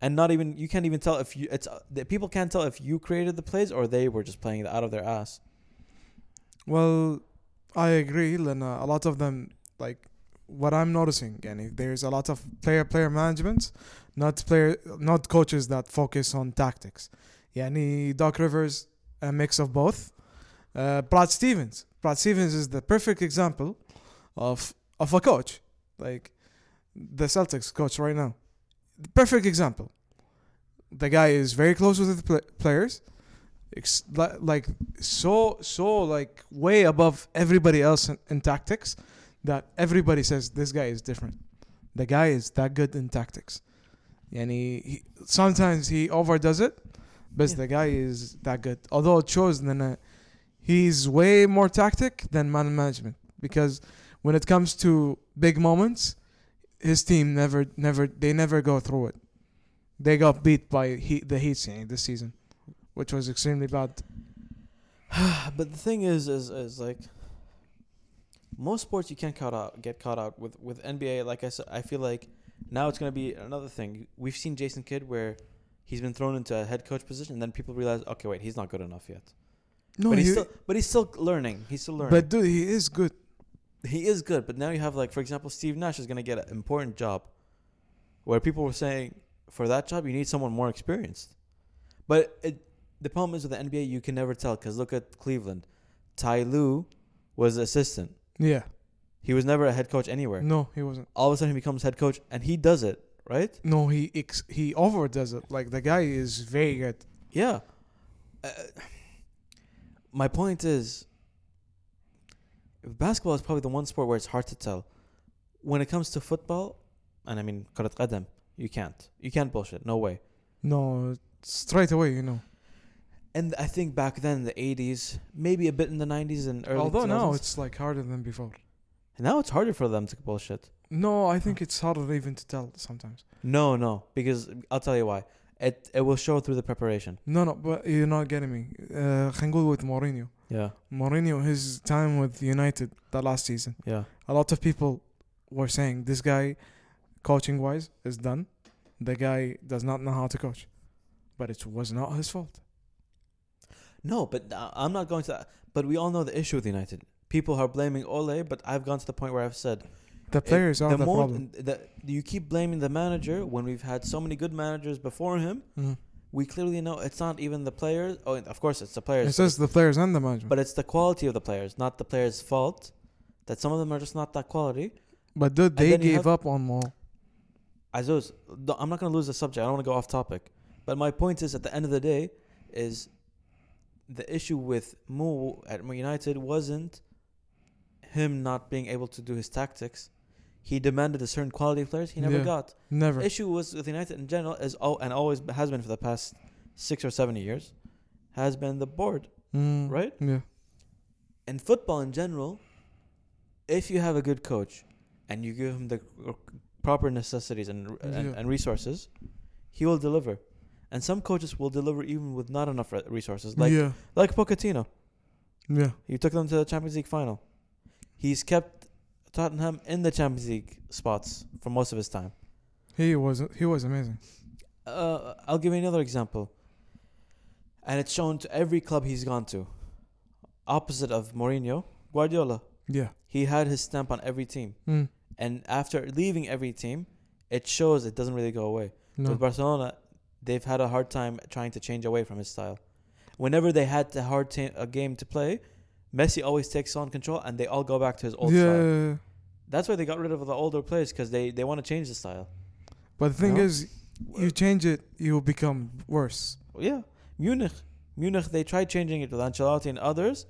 Speaker 2: and not even you can't even tell if you it's uh, the people can't tell if you created the plays or they were just playing it out of their ass.
Speaker 1: Well, I agree, Lena. A lot of them, like what I'm noticing, and there's a lot of player player management, not player, not coaches that focus on tactics. Yani Doc Rivers, a mix of both. Uh, Brad Stevens. Brad Stevens is the perfect example of of a coach, like the Celtics coach right now. Perfect example. The guy is very close with the pl- players. Ex- li- like so so like way above everybody else in, in tactics that everybody says this guy is different. The guy is that good in tactics. And he, he sometimes he overdoes it, but
Speaker 2: Yeah.
Speaker 1: the guy is that good. Although it shows then uh, he's way more tactic than man management because when it comes to big moments, his team never never they never go through it. They got beat by heat, the Heat yeah, this season, which was extremely bad.
Speaker 2: but the thing is, is, is like most sports you can't caught out, get caught out with with NBA. Like I said, I feel like now it's gonna be another thing. We've seen Jason Kidd where he's been thrown into a head coach position, and then people realize, okay, wait, he's not good enough yet.
Speaker 1: No,
Speaker 2: but he's
Speaker 1: he-
Speaker 2: still, but he's still learning. He's still learning.
Speaker 1: but dude, he is good.
Speaker 2: he is good. But now you have like, for example, Steve Nash is gonna get an important job, where people were saying for that job you need someone more experienced. But it, the problem is with the NBA, you can never tell because look at Cleveland. Ty Lue was assistant.
Speaker 1: Yeah.
Speaker 2: He was never a head coach anywhere.
Speaker 1: No, he wasn't.
Speaker 2: All of a sudden, he becomes head coach, and he does it right.
Speaker 1: No, he ex- he overdoes it. Like the guy is very good.
Speaker 2: Yeah. Uh, my point is, basketball is probably the one sport where it's hard to tell. When it comes to football, and I mean كرة قدم, you can't. You can't bullshit. No way.
Speaker 1: No, straight away, you know.
Speaker 2: And I think back then, in the 80s, maybe a bit in the 90s and early
Speaker 1: Although
Speaker 2: 2000s,
Speaker 1: now it's like harder than before.
Speaker 2: now it's harder for them to bullshit.
Speaker 1: No, I think it's harder even to tell sometimes.
Speaker 2: No, no, because I'll tell you why. It it will show through the preparation.
Speaker 1: No, no, but you're not getting me. Uh, خلينا نقول with Mourinho.
Speaker 2: Yeah,
Speaker 1: Mourinho, his time with United the last season,
Speaker 2: yeah.
Speaker 1: a lot of people we're saying this guy, coaching wise, is done. The guy does not know how to coach, but it was not his fault.
Speaker 2: No, but uh, I'm not going to. that. But we all know the issue with United. People are blaming Ole, but I've gone to the point where I've said
Speaker 1: The players are the,
Speaker 2: more
Speaker 1: problem.
Speaker 2: the, you keep blaming the manager when we've had so many good managers before him.
Speaker 1: Mhm.
Speaker 2: We clearly know it's not even the players. Oh, and of course it's the players,
Speaker 1: It's just the players and the management.
Speaker 2: but it's the quality of the players, not the players' fault. That some of them are just not that quality.
Speaker 1: But dude,
Speaker 2: And
Speaker 1: they
Speaker 2: then you
Speaker 1: gave
Speaker 2: have-
Speaker 1: up on Mo.
Speaker 2: Azuz, th- I'm not going to lose the subject. I don't want to go off topic. But my point is, at the end of the day, is the issue with Mu at Man United wasn't him not being able to do his tactics. He demanded a certain quality of players he never
Speaker 1: Yeah.
Speaker 2: got.
Speaker 1: Never.
Speaker 2: The issue was with United in general is all and always has been for the past six or seven years, has been the board.
Speaker 1: Mm.
Speaker 2: right?
Speaker 1: Yeah.
Speaker 2: In football in general, if you have a good coach and you give him the proper necessities and and,
Speaker 1: Yeah.
Speaker 2: and resources, he will deliver. And some coaches will deliver even with not enough re- resources, like
Speaker 1: yeah.
Speaker 2: like Pochettino.
Speaker 1: Yeah.
Speaker 2: He took them to the Champions League final. He's kept Tottenham in the Champions League spots for most of his time.
Speaker 1: He was he was amazing.
Speaker 2: uh, I'll give you another example. And it's shown to every club he's gone to. Opposite of Mourinho, Guardiola.
Speaker 1: Yeah.
Speaker 2: He had his stamp on every team.
Speaker 1: Mm.
Speaker 2: And after leaving every team, it shows it doesn't really go away.
Speaker 1: No.
Speaker 2: With Barcelona, they've had a hard time trying to change away from his style. Whenever they had the hard ta- a game to play, Messi always takes on control and they all go back to his old style.
Speaker 1: yeah.
Speaker 2: That's why they got rid of the older players because they, they want to change the style.
Speaker 1: But the thing
Speaker 2: No.
Speaker 1: is, you change it, you become worse.
Speaker 2: Yeah, Munich. Munich, they tried changing it with Ancelotti and others,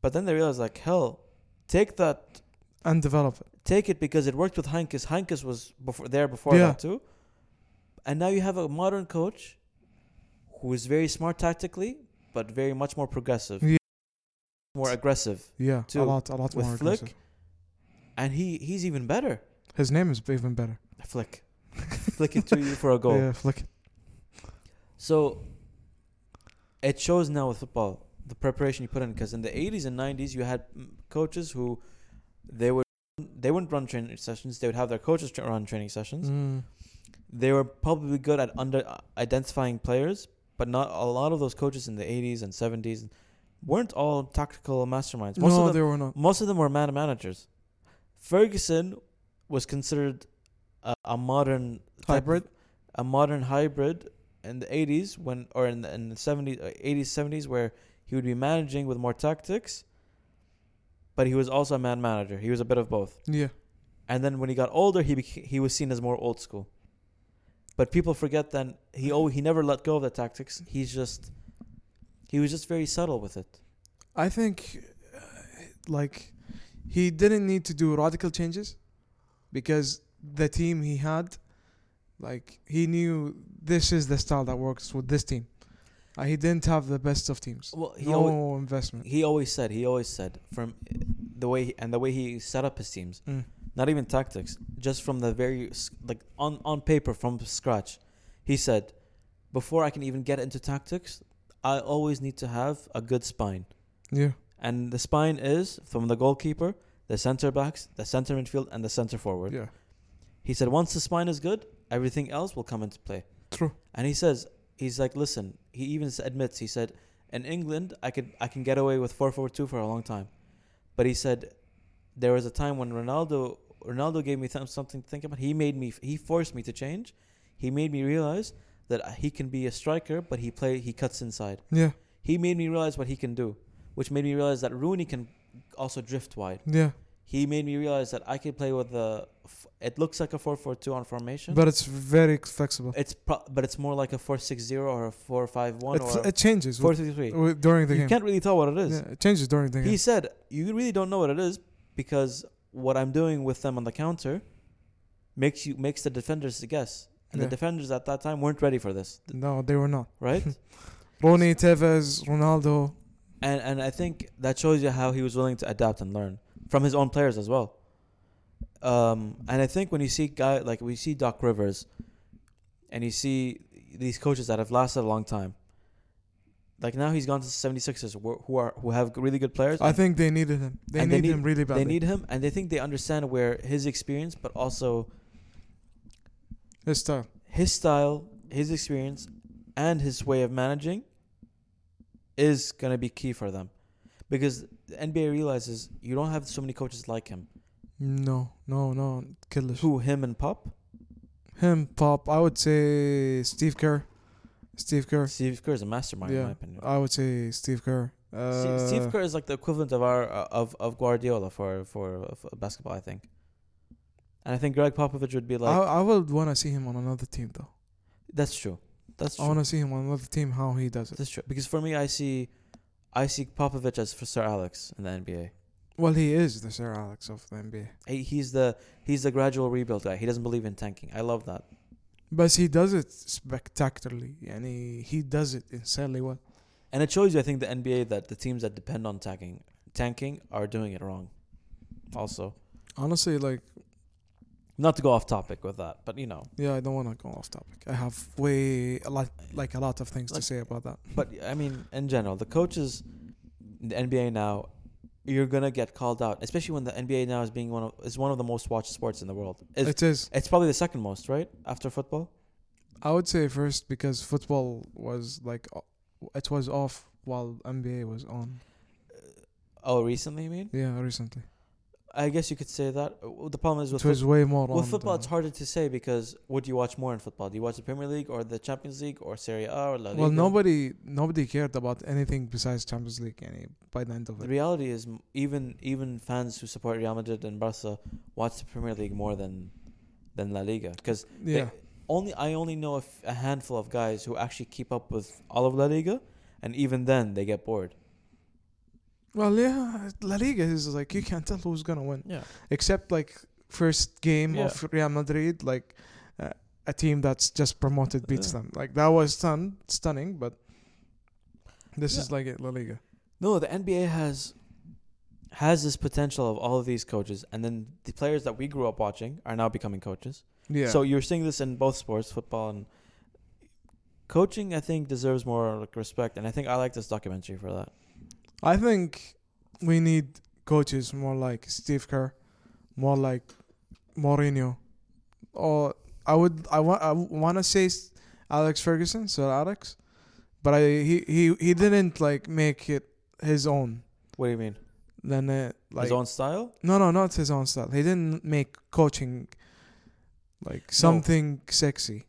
Speaker 2: but then they realized, like, hell, take that,
Speaker 1: and develop it.
Speaker 2: take it because it worked with Heinkes. Heinkes was before there before
Speaker 1: Yeah.
Speaker 2: that too, and now you have a modern coach who is very smart tactically, but very much more progressive,
Speaker 1: Yeah.
Speaker 2: more aggressive,
Speaker 1: Yeah,
Speaker 2: Two.
Speaker 1: a lot, a lot
Speaker 2: With
Speaker 1: more
Speaker 2: Flick?
Speaker 1: aggressive.
Speaker 2: and he he's even better.
Speaker 1: His name is even better.
Speaker 2: Flick, flick it to you for a goal.
Speaker 1: Yeah, Flick.
Speaker 2: So it shows now with football the preparation you put in because in the 80s and 90s you had mm, coaches who they would they wouldn't run training sessions they would have their coaches tra- run training sessions
Speaker 1: Mm.
Speaker 2: they were probably good at under uh, identifying players but not a lot of those coaches in the 80s and 70s weren't all tactical masterminds most
Speaker 1: No,
Speaker 2: of them
Speaker 1: they were not.
Speaker 2: most of them were man managers Ferguson was considered a, a modern type of-
Speaker 1: Hybrid.
Speaker 2: a modern hybrid in the 80s when or in the, in the 70s uh, 80s 70s where he would be managing with more tactics but he was also a man manager he was a bit of both
Speaker 1: Yeah,
Speaker 2: and then when he got older he beca- he was seen as more old school but people forget then he oh he never let go of the tactics he's just he was just very subtle with it
Speaker 1: I think, uh, like, he didn't need to do radical changes, because the team he had, like, he knew this is the style that works with this team. Uh, he didn't have the best of teams.
Speaker 2: well he
Speaker 1: no
Speaker 2: always,
Speaker 1: investment.
Speaker 2: he always said he always said from the way he, and the way he set up his teams
Speaker 1: Mm.
Speaker 2: not even tactics, just from the very s- like on on paper from scratch. He said, before I can even get into tactics, I always need to have a good spine,
Speaker 1: Yeah,
Speaker 2: and the spine is from the goalkeeper, the center backs, the center midfield, and the center forward.
Speaker 1: yeah,
Speaker 2: He said once the spine is good, everything else will come into play.
Speaker 1: true.
Speaker 2: And he says he's like, listen. He even s- admits he said in England I could I can get away with four four two for a long time, but he said there was a time when Ronaldo Ronaldo gave me th- something to think about. He made me f- he forced me to change. He made me realize that uh, he can be a striker, but he play he cuts inside.
Speaker 1: Yeah,
Speaker 2: He made me realize what he can do, which made me realize that Rooney can also drift wide.
Speaker 1: yeah,
Speaker 2: He made me realize that I can play with the. f- It looks like a four four two on formation.
Speaker 1: but uh, it's very flexible.
Speaker 2: It's pro- but it's more like a four six zero or a four five one
Speaker 1: It,
Speaker 2: or a
Speaker 1: it changes
Speaker 2: four
Speaker 1: with,
Speaker 2: three three. You
Speaker 1: with, during the game.
Speaker 2: can't really tell what it is.
Speaker 1: Yeah, it changes during the
Speaker 2: He
Speaker 1: game.
Speaker 2: said, "You really don't know what it is because what I'm doing with them on the counter makes you makes the defenders guess, and
Speaker 1: Yeah.
Speaker 2: the defenders at that time weren't ready for this, th-
Speaker 1: No, they were not.
Speaker 2: right?
Speaker 1: Ronnie, Tevez, Ronaldo.
Speaker 2: and and I think that shows you how he was willing to adapt and learn from his own players as well. Um, and I think when you see guy like we see Doc Rivers, and you see these coaches that have lasted a long time, Like now he's gone to 76ers wh- who are who have really good players.
Speaker 1: I think they needed him. They
Speaker 2: and they
Speaker 1: need,
Speaker 2: need-
Speaker 1: him really badly.
Speaker 2: they need him and they think they understand where his experience but also
Speaker 1: his style.
Speaker 2: his style, his experience, and his way of managing is going to be key for them. Because the NBA realizes you don't have so many coaches like him.
Speaker 1: No, no, no. Killish.
Speaker 2: Who, him and Pop?
Speaker 1: Him, Pop. I would say Steve Kerr. Steve Kerr.
Speaker 2: Steve Kerr is a mastermind, in
Speaker 1: Yeah.
Speaker 2: my opinion.
Speaker 1: I would say Steve Kerr. Uh,
Speaker 2: Steve, Steve Kerr is like the equivalent of our uh, of, of Guardiola for, for, for basketball, I think. And I think Greg Popovich would be like,
Speaker 1: I, I would want to see him on another team though.
Speaker 2: that's true. That's
Speaker 1: I
Speaker 2: true.
Speaker 1: want to see him on another team. How he does it.
Speaker 2: That's true. Because for me, I see, I see Popovich as for Sir Alex in the NBA.
Speaker 1: Well, he is the Sir Alex of the NBA,
Speaker 2: He- he's the he's the gradual rebuild guy. He doesn't believe in tanking. I love that.
Speaker 1: but he does it spectacularly, and he, he does it insanely well.
Speaker 2: And it shows you, I think, the NBA that the teams that depend on tanking tanking are doing it wrong. Also,
Speaker 1: Honestly, like
Speaker 2: not to go off topic with that, but you know,
Speaker 1: yeah, I don't want to go off topic. I have way a lot like a lot of things to
Speaker 2: Like-
Speaker 1: say about that.
Speaker 2: but I mean, in general, the coaches, in the NBA now, you're gonna get called out, especially when the NBA now is being one of is one of the most watched sports in the world. It's,
Speaker 1: It is.
Speaker 2: it's probably the second most, right, after football.
Speaker 1: I would say first because football was like o- it was off while NBA was on.
Speaker 2: Oh, recently, I mean,
Speaker 1: Yeah, recently
Speaker 2: I guess you could say that. Uh, The problem is with
Speaker 1: it was way more on.
Speaker 2: With football,
Speaker 1: the-
Speaker 2: it's harder to say because what do you watch more in football? Do you watch the Premier League or the Champions League or Serie A or La Liga?
Speaker 1: Well, nobody nobody cared about anything besides Champions League. Any by the end of
Speaker 2: The
Speaker 1: it,
Speaker 2: reality is, m- even even fans who support Real Madrid and Barca watch the Premier League more than than La Liga because
Speaker 1: yeah.
Speaker 2: only I only know a, f- a handful of guys who actually keep up with all of La Liga, and even then they get bored.
Speaker 1: Well, yeah, La Liga is like you can't tell who's gonna win,
Speaker 2: Yeah,
Speaker 1: except like first game
Speaker 2: Yeah.
Speaker 1: of Real Madrid, like uh, a team that's just promoted beats
Speaker 2: Yeah.
Speaker 1: them. Like that was stun stunning, but this
Speaker 2: Yeah.
Speaker 1: is like it, La Liga.
Speaker 2: no, the NBA has has this potential of all of these coaches, and then the players that we grew up watching are now becoming coaches.
Speaker 1: Yeah.
Speaker 2: So you're seeing this in both sports, football and coaching. I think deserves more like respect, and I think I like this documentary for that.
Speaker 1: I think we need coaches more like Steve Kerr, more like Mourinho, or I would I want I want to say s- Alex Ferguson, Sir Alex, but I he he he didn't like make it his own.
Speaker 2: What do you mean?
Speaker 1: Then uh, like
Speaker 2: His own style?
Speaker 1: no no not his own style. He didn't make coaching like something sexy.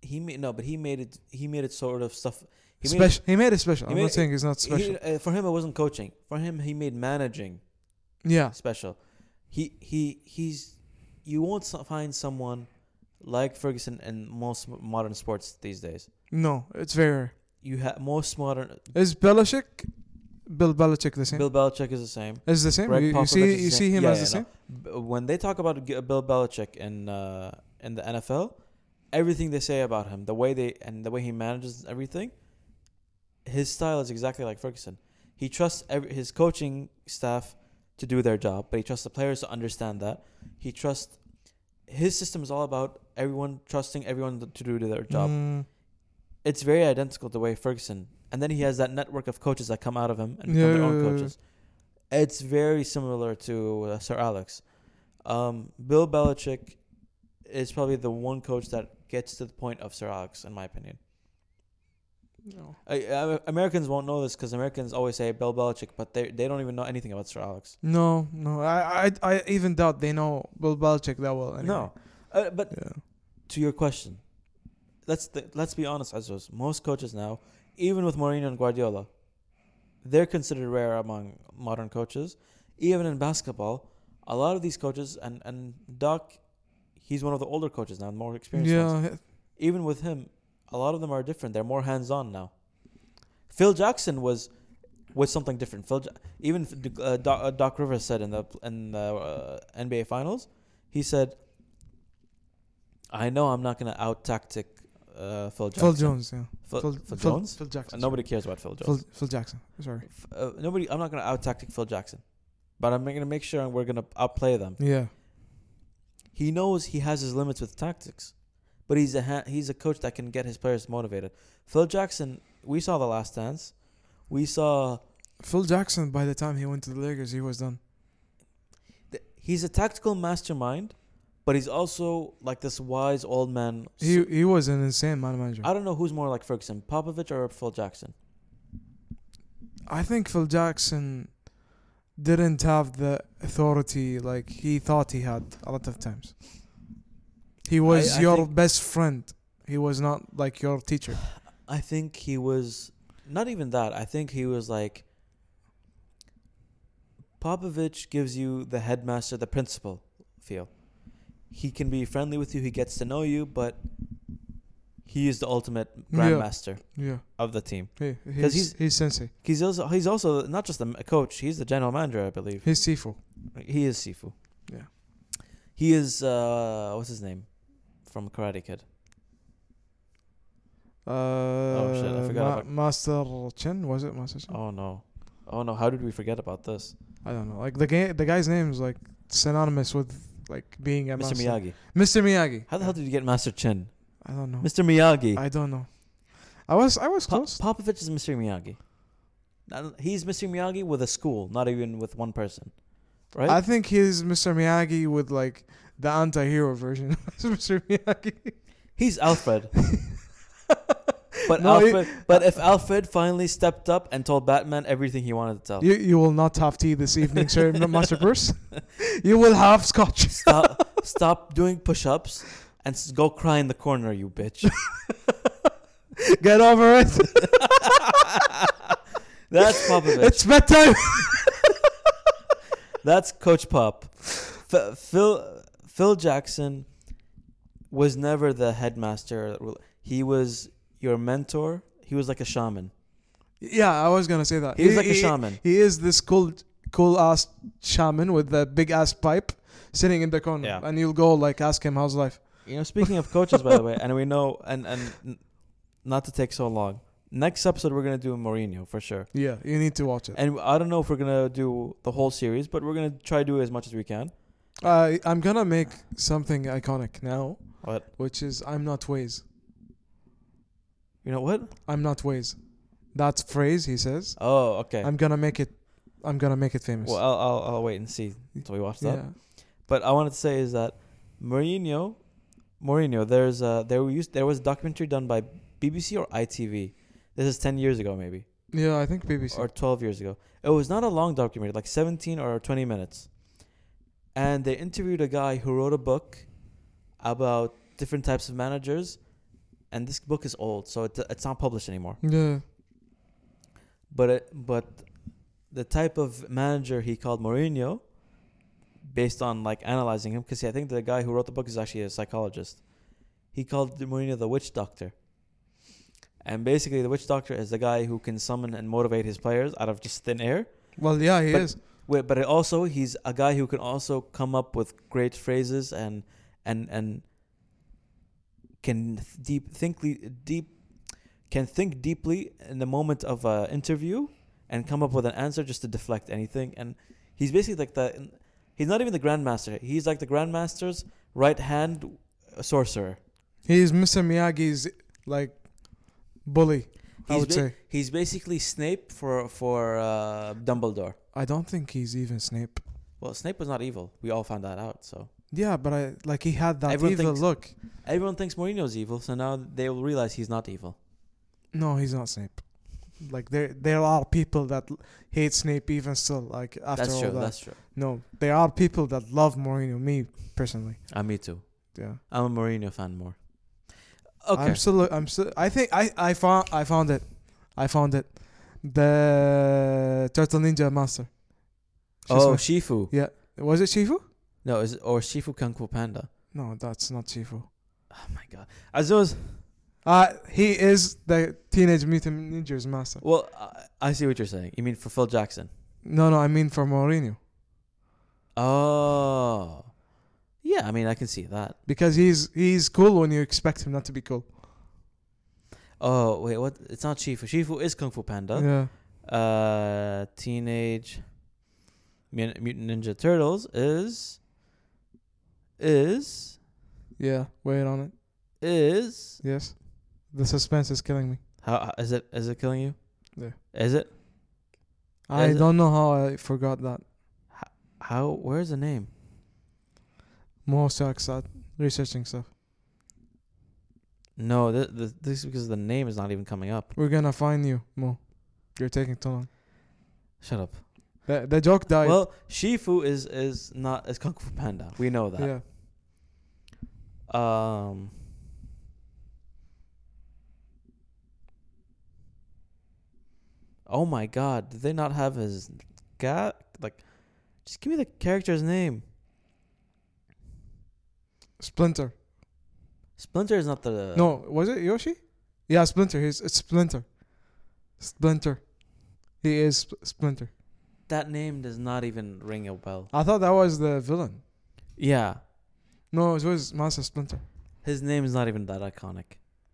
Speaker 2: He made no, but he made it. He made it sort of stuff. He made
Speaker 1: special. He made it special.
Speaker 2: he
Speaker 1: I'm
Speaker 2: made
Speaker 1: not
Speaker 2: it-
Speaker 1: saying it's not
Speaker 2: it-
Speaker 1: special.
Speaker 2: he- uh, for him, it wasn't coaching. For him, he made managing
Speaker 1: yeah.
Speaker 2: special. He he he's. You won't so- find someone like Ferguson in most modern sports these days.
Speaker 1: No, it's very rare.
Speaker 2: You have most modern.
Speaker 1: Is Belichick, Bill Belichick the same?
Speaker 2: Bill Belichick is the same.
Speaker 1: Is the same?
Speaker 2: Greg
Speaker 1: You, you
Speaker 2: Popovich
Speaker 1: see,
Speaker 2: is the
Speaker 1: you
Speaker 2: same.
Speaker 1: see him
Speaker 2: Yeah,
Speaker 1: as the
Speaker 2: yeah,
Speaker 1: same.
Speaker 2: no. B- when they talk about G- Bill Belichick in uh, in the NFL, everything they say about him, the way they and the way he manages everything, his style is exactly like Ferguson. He trusts every, his coaching staff to do their job, but he trusts the players to understand that. He trusts his system is all about everyone trusting everyone to do their job.
Speaker 1: Mm,
Speaker 2: It's very identical to the way Ferguson, and then he has that network of coaches that come out of him and become
Speaker 1: Yeah,
Speaker 2: their own
Speaker 1: yeah, yeah, yeah.
Speaker 2: coaches. It's very similar to uh, Sir Alex. Um, Bill Belichick is probably the one coach that gets to the point of Sir Alex, in my opinion.
Speaker 1: no.
Speaker 2: I, I, Americans won't know this because Americans always say Bill Belichick, but they they don't even know anything about Sir Alex.
Speaker 1: No, no. I, I, I even doubt they know Bill Belichick that well. Anyway.
Speaker 2: No, uh, but
Speaker 1: Yeah.
Speaker 2: to your question, let's th- let's be honest, Azos. Most coaches now, even with Mourinho and Guardiola, they're considered rare among modern coaches. Even in basketball, a lot of these coaches and and Doc, he's one of the older coaches now, more experienced. ones.
Speaker 1: Yeah.
Speaker 2: Even with him, a lot of them are different. They're more hands on now. Phil Jackson was was something different. Phil, Ja- even uh, Doc, uh, Doc Rivers said in the in the uh, NBA Finals, he said, "I know I'm not going to out tactic uh, Phil Jackson.
Speaker 1: Phil Jones. Yeah.
Speaker 2: Phil,
Speaker 1: Phil,
Speaker 2: Phil
Speaker 1: Phil-
Speaker 2: Jones.
Speaker 1: Phil Jackson. sorry.
Speaker 2: Nobody cares about Phil Jones.
Speaker 1: Phil, Phil Jackson. Sorry.
Speaker 2: F- uh, nobody. I'm not going to out tactic Phil Jackson, but I'm going to make sure we're going to outplay them.
Speaker 1: Yeah.
Speaker 2: He knows he has his limits with tactics, but but he's a ha- he's a coach that can get his players motivated. Phil Jackson, we saw the last dance. We saw
Speaker 1: Phil Jackson, by the time he went to the Lakers, he was done.
Speaker 2: th- he's a tactical mastermind, but he's also like this wise old man.
Speaker 1: He he was an insane man manager.
Speaker 2: I don't know who's more like Ferguson, Popovich or Phil Jackson.
Speaker 1: I think Phil Jackson didn't have the authority like he thought he had a lot of times. He was
Speaker 2: I
Speaker 1: your
Speaker 2: think-
Speaker 1: best friend. He was not like your teacher.
Speaker 2: I think he was not even that. I think he was like Popovich gives you the headmaster, the principal feel. He can be friendly with you. He gets to know you, but he is the ultimate
Speaker 1: Yeah.
Speaker 2: grandmaster
Speaker 1: Yeah,
Speaker 2: of the team.
Speaker 1: he, he's, he's
Speaker 2: he's-
Speaker 1: sensei.
Speaker 2: He's also he's also not just a coach. He's the general manager, I believe.
Speaker 1: He's Sifu.
Speaker 2: He is Sifu.
Speaker 1: Yeah.
Speaker 2: He is uh what's his name from Karate Kid?
Speaker 1: Uh,
Speaker 2: Oh, shit, I forgot about-
Speaker 1: Master Chen was it Master Chen?
Speaker 2: Oh no, oh no! How did we forget about this,
Speaker 1: I don't know. Like the guy, the guy's name is like synonymous with like being a
Speaker 2: Mr.
Speaker 1: master.
Speaker 2: Miyagi?
Speaker 1: Mr. Miyagi.
Speaker 2: How the hell did you get Master Chen?
Speaker 1: I don't know.
Speaker 2: Mr. Miyagi.
Speaker 1: I don't know. I was I was
Speaker 2: Pa-
Speaker 1: close.
Speaker 2: Popovich is Mr. Miyagi. Not- He's Mr. Miyagi with a school, not even with one person, right?
Speaker 1: I think he's Mr. Miyagi with like the anti-hero version of Mr. Miyagi.
Speaker 2: He's Alfred. but
Speaker 1: No, he-
Speaker 2: Alfred. but if Alfred finally stepped up and told Batman everything he wanted to tell,
Speaker 1: You you will not have tea this evening, sir, M- Master Bruce. You will have scotch.
Speaker 2: stop, stop doing push-ups and s- go cry in the corner, you bitch.
Speaker 1: Get over it.
Speaker 2: That's Popovich.
Speaker 1: It's bedtime.
Speaker 2: That's Coach Pop. F- Phil Phil Jackson was never the headmaster. He was your mentor. He was like a shaman.
Speaker 1: yeah, I was gonna say that.
Speaker 2: He was
Speaker 1: He-
Speaker 2: like a
Speaker 1: he-
Speaker 2: shaman.
Speaker 1: He is this cool cool ass shaman with the big ass pipe sitting in the corner,
Speaker 2: Yeah.
Speaker 1: and you'll go like ask him how's life.
Speaker 2: You know, speaking of coaches, by the way, and we know, and and n- not to take so long. Next episode, we're gonna do Mourinho for sure.
Speaker 1: Yeah, you need to watch it.
Speaker 2: And I don't know if we're gonna do the whole series, but we're gonna try to do as much as we can.
Speaker 1: Uh, I'm gonna make something iconic now,
Speaker 2: What?
Speaker 1: which is I'm not ways.
Speaker 2: You know what?
Speaker 1: I'm not ways. That phrase he says.
Speaker 2: Oh, okay.
Speaker 1: I'm gonna make it. I'm gonna make it famous.
Speaker 2: well, I'll, I'll I'll wait and see until we watch that.
Speaker 1: yeah,
Speaker 2: But I wanted to say is that Mourinho, Mourinho. There's a there we used there was a documentary done by BBC or ITV. This is ten years ago, maybe
Speaker 1: yeah. I think BBC.
Speaker 2: or twelve years ago. It was not a long documentary, like seventeen or twenty minutes. And they interviewed a guy who wrote a book about different types of managers, and this book is old, so it, it's not published anymore.
Speaker 1: yeah,
Speaker 2: But it, but the type of manager he called Mourinho, based on like analyzing him, because I think the guy who wrote the book is actually a psychologist. He called Mourinho the witch doctor. And basically, the witch doctor is the guy who can summon and motivate his players out of just thin air.
Speaker 1: well, yeah, he
Speaker 2: But-
Speaker 1: is.
Speaker 2: Wait, but it also he's a guy who can also come up with great phrases and and and can th- deep think le- deep can think deeply in the moment of an interview and come up with an answer just to deflect anything. And he's basically like the he's not even the grandmaster. He's like the grandmaster's right hand sorcerer.
Speaker 1: He is Mr. Miyagi's like bully. I
Speaker 2: He's
Speaker 1: would
Speaker 2: ba-
Speaker 1: say.
Speaker 2: He's basically Snape for for uh, Dumbledore.
Speaker 1: I don't think he's even Snape.
Speaker 2: Well, Snape was not evil. We all found that out. So.
Speaker 1: Yeah, but I like he had that
Speaker 2: Everyone
Speaker 1: evil
Speaker 2: thinks-
Speaker 1: look.
Speaker 2: Everyone thinks Mourinho's evil, so now they will realize he's not evil.
Speaker 1: No, he's not Snape. Like there, there are people that l- hate Snape even still. Like after
Speaker 2: that's
Speaker 1: all
Speaker 2: true.
Speaker 1: that.
Speaker 2: That's true.
Speaker 1: no, there are people that love Mourinho. Me personally.
Speaker 2: Uh, me too.
Speaker 1: Yeah.
Speaker 2: I'm a Mourinho fan more. Okay.
Speaker 1: I'm still. I'm still. I think I. I found. I found it. I found it. The Turtle Ninja Master. She's
Speaker 2: oh,
Speaker 1: my-
Speaker 2: Shifu.
Speaker 1: was it Shifu?
Speaker 2: No, is or Shifu Kung Fu Panda.
Speaker 1: No, that's not Shifu.
Speaker 2: Oh my god. As well as
Speaker 1: Uh he is the Teenage Mutant Ninja's master.
Speaker 2: well, I, I see what you're saying. You mean for Phil Jackson?
Speaker 1: No, no, I mean for Mourinho
Speaker 2: Oh, yeah. I mean, I can see that.
Speaker 1: because he's he's cool when you expect him not to be cool.
Speaker 2: Oh wait, what? It's not Shifu. Shifu is Kung Fu Panda.
Speaker 1: Yeah.
Speaker 2: Uh, teenage Mun- Mutant Ninja Turtles is is
Speaker 1: Yeah. Wait on it.
Speaker 2: is
Speaker 1: Yes. The suspense is killing me.
Speaker 2: how uh, is it is it killing you?
Speaker 1: Yeah.
Speaker 2: Is it
Speaker 1: I
Speaker 2: Is it-
Speaker 1: don't know how I forgot that.
Speaker 2: how? Where's the name?
Speaker 1: More sucks at researching stuff.
Speaker 2: No, th- th- this is because the name is not even coming up.
Speaker 1: We're gonna find you, Mo. You're taking too long.
Speaker 2: Shut up.
Speaker 1: The, the joke died.
Speaker 2: Well, Shifu is is not is Kung Fu Panda. We know that.
Speaker 1: yeah.
Speaker 2: Um. Oh my God! Did they not have his guy? Like, just give me the character's name.
Speaker 1: Splinter.
Speaker 2: Splinter is not the
Speaker 1: no, was it Yoshi? Yeah, Splinter. He's it's Splinter. Splinter. He is Sp- Splinter.
Speaker 2: That name does not even ring a bell.
Speaker 1: I thought that was the villain.
Speaker 2: Yeah,
Speaker 1: No, it was Master Splinter.
Speaker 2: his name is not even that iconic.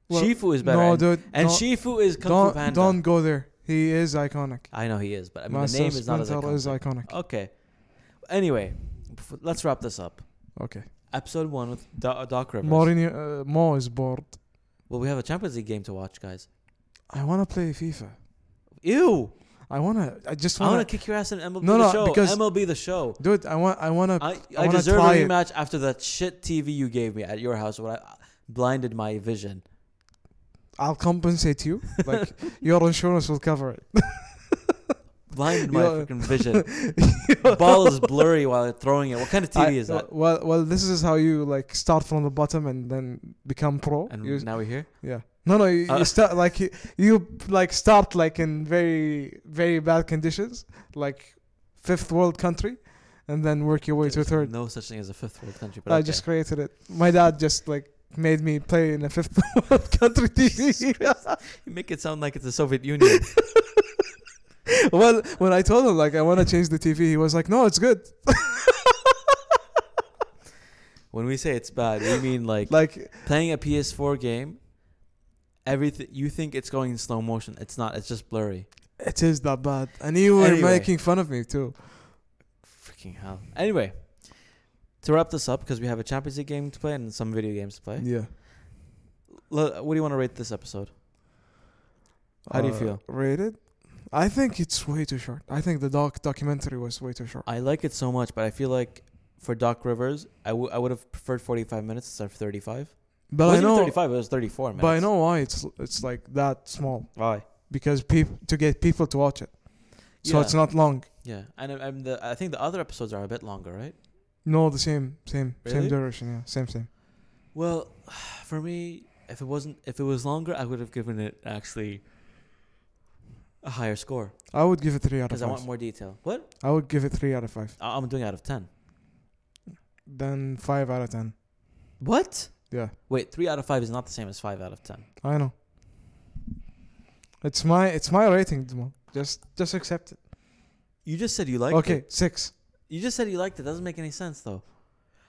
Speaker 1: Well,
Speaker 2: Shifu is better,
Speaker 1: no,
Speaker 2: and,
Speaker 1: dude.
Speaker 2: and
Speaker 1: don't,
Speaker 2: Shifu is Kung
Speaker 1: don't,
Speaker 2: Fu Panda.
Speaker 1: don't go there. He is iconic.
Speaker 2: I know he is, but I mean
Speaker 1: Master
Speaker 2: the name is
Speaker 1: Splinter
Speaker 2: not as iconic.
Speaker 1: is iconic.
Speaker 2: okay. Anyway, bef- let's wrap this up.
Speaker 1: Okay.
Speaker 2: Episode one with Do- Doc Rivers.
Speaker 1: Mourinho, uh, Mo is bored.
Speaker 2: Well, we have a Champions League game to watch, guys.
Speaker 1: I wanna play FIFA.
Speaker 2: Ew!
Speaker 1: I wanna. I just
Speaker 2: I want
Speaker 1: wanna.
Speaker 2: to kick your ass in MLB
Speaker 1: No,
Speaker 2: the
Speaker 1: no,
Speaker 2: show.
Speaker 1: because-
Speaker 2: MLB the show.
Speaker 1: Dude, I want. I wanna.
Speaker 2: I,
Speaker 1: I
Speaker 2: I,
Speaker 1: wanna
Speaker 2: deserve a
Speaker 1: try it.
Speaker 2: rematch after that shit TV you gave me at your house when I I blinded my vision.
Speaker 1: I'll compensate you. Like your insurance will cover it.
Speaker 2: Blinded my
Speaker 1: You're-
Speaker 2: freaking vision. The ball is blurry while I'm throwing it. What kind of TV
Speaker 1: I-
Speaker 2: is that?
Speaker 1: Well, well, this is how you like start from the bottom and then become pro.
Speaker 2: And
Speaker 1: You-
Speaker 2: now we're here.
Speaker 1: yeah. No, no. You,
Speaker 2: Uh,
Speaker 1: you start like you, you like start like in very very bad conditions, like fifth world country, and then work your way to
Speaker 2: There's
Speaker 1: third.
Speaker 2: No such thing as a fifth world country. But
Speaker 1: I
Speaker 2: okay.
Speaker 1: just created it. My dad just like made me play in a fifth world country TV.
Speaker 2: you make it sound like it's the Soviet Union.
Speaker 1: well, when I told him like I want to change the TV, he was like, "No, it's good."
Speaker 2: when we say it's bad, we mean like,
Speaker 1: Like,
Speaker 2: playing a PS4 game. Everything you think it's going in slow motion. It's not. It's just blurry.
Speaker 1: it is that bad, and you were
Speaker 2: Anyway.
Speaker 1: making fun of me too.
Speaker 2: Freaking hell. Anyway, to wrap this up because we have a Champions League game to play and some video games to play.
Speaker 1: Yeah.
Speaker 2: L- what do you want to rate this episode? How do you feel?
Speaker 1: Uh, Rated? I think it's way too short. I think the doc documentary was way too short.
Speaker 2: I like it so much, but I feel like for Doc Rivers, I would have preferred 45 minutes instead of 35. it
Speaker 1: But I
Speaker 2: wasn't even
Speaker 1: know,
Speaker 2: 35. It was 34 minutes.
Speaker 1: but I know why it's it's like that small
Speaker 2: Why?
Speaker 1: because people to get people to watch it, so
Speaker 2: yeah.
Speaker 1: it's not long.
Speaker 2: Yeah, and I- I'm the. I think the other episodes are a bit longer, right?
Speaker 1: No, the same, same,
Speaker 2: Really?
Speaker 1: same duration. Yeah, same, same.
Speaker 2: Well, for me, if it wasn't, if it was longer, I would have given it actually a higher score
Speaker 1: I would give it three out of
Speaker 2: because I
Speaker 1: five.
Speaker 2: want more detail. What?
Speaker 1: I would give it three out of five.
Speaker 2: I- I'm doing out of ten.
Speaker 1: Then five out of ten.
Speaker 2: What?
Speaker 1: Yeah,
Speaker 2: Wait, three out of five is not the same as five out of ten.
Speaker 1: I know. It's my it's my rating, Dmo. Just just accept it.
Speaker 2: You just said you liked
Speaker 1: okay,
Speaker 2: it.
Speaker 1: six.
Speaker 2: You just said you liked it. Doesn't make any sense though.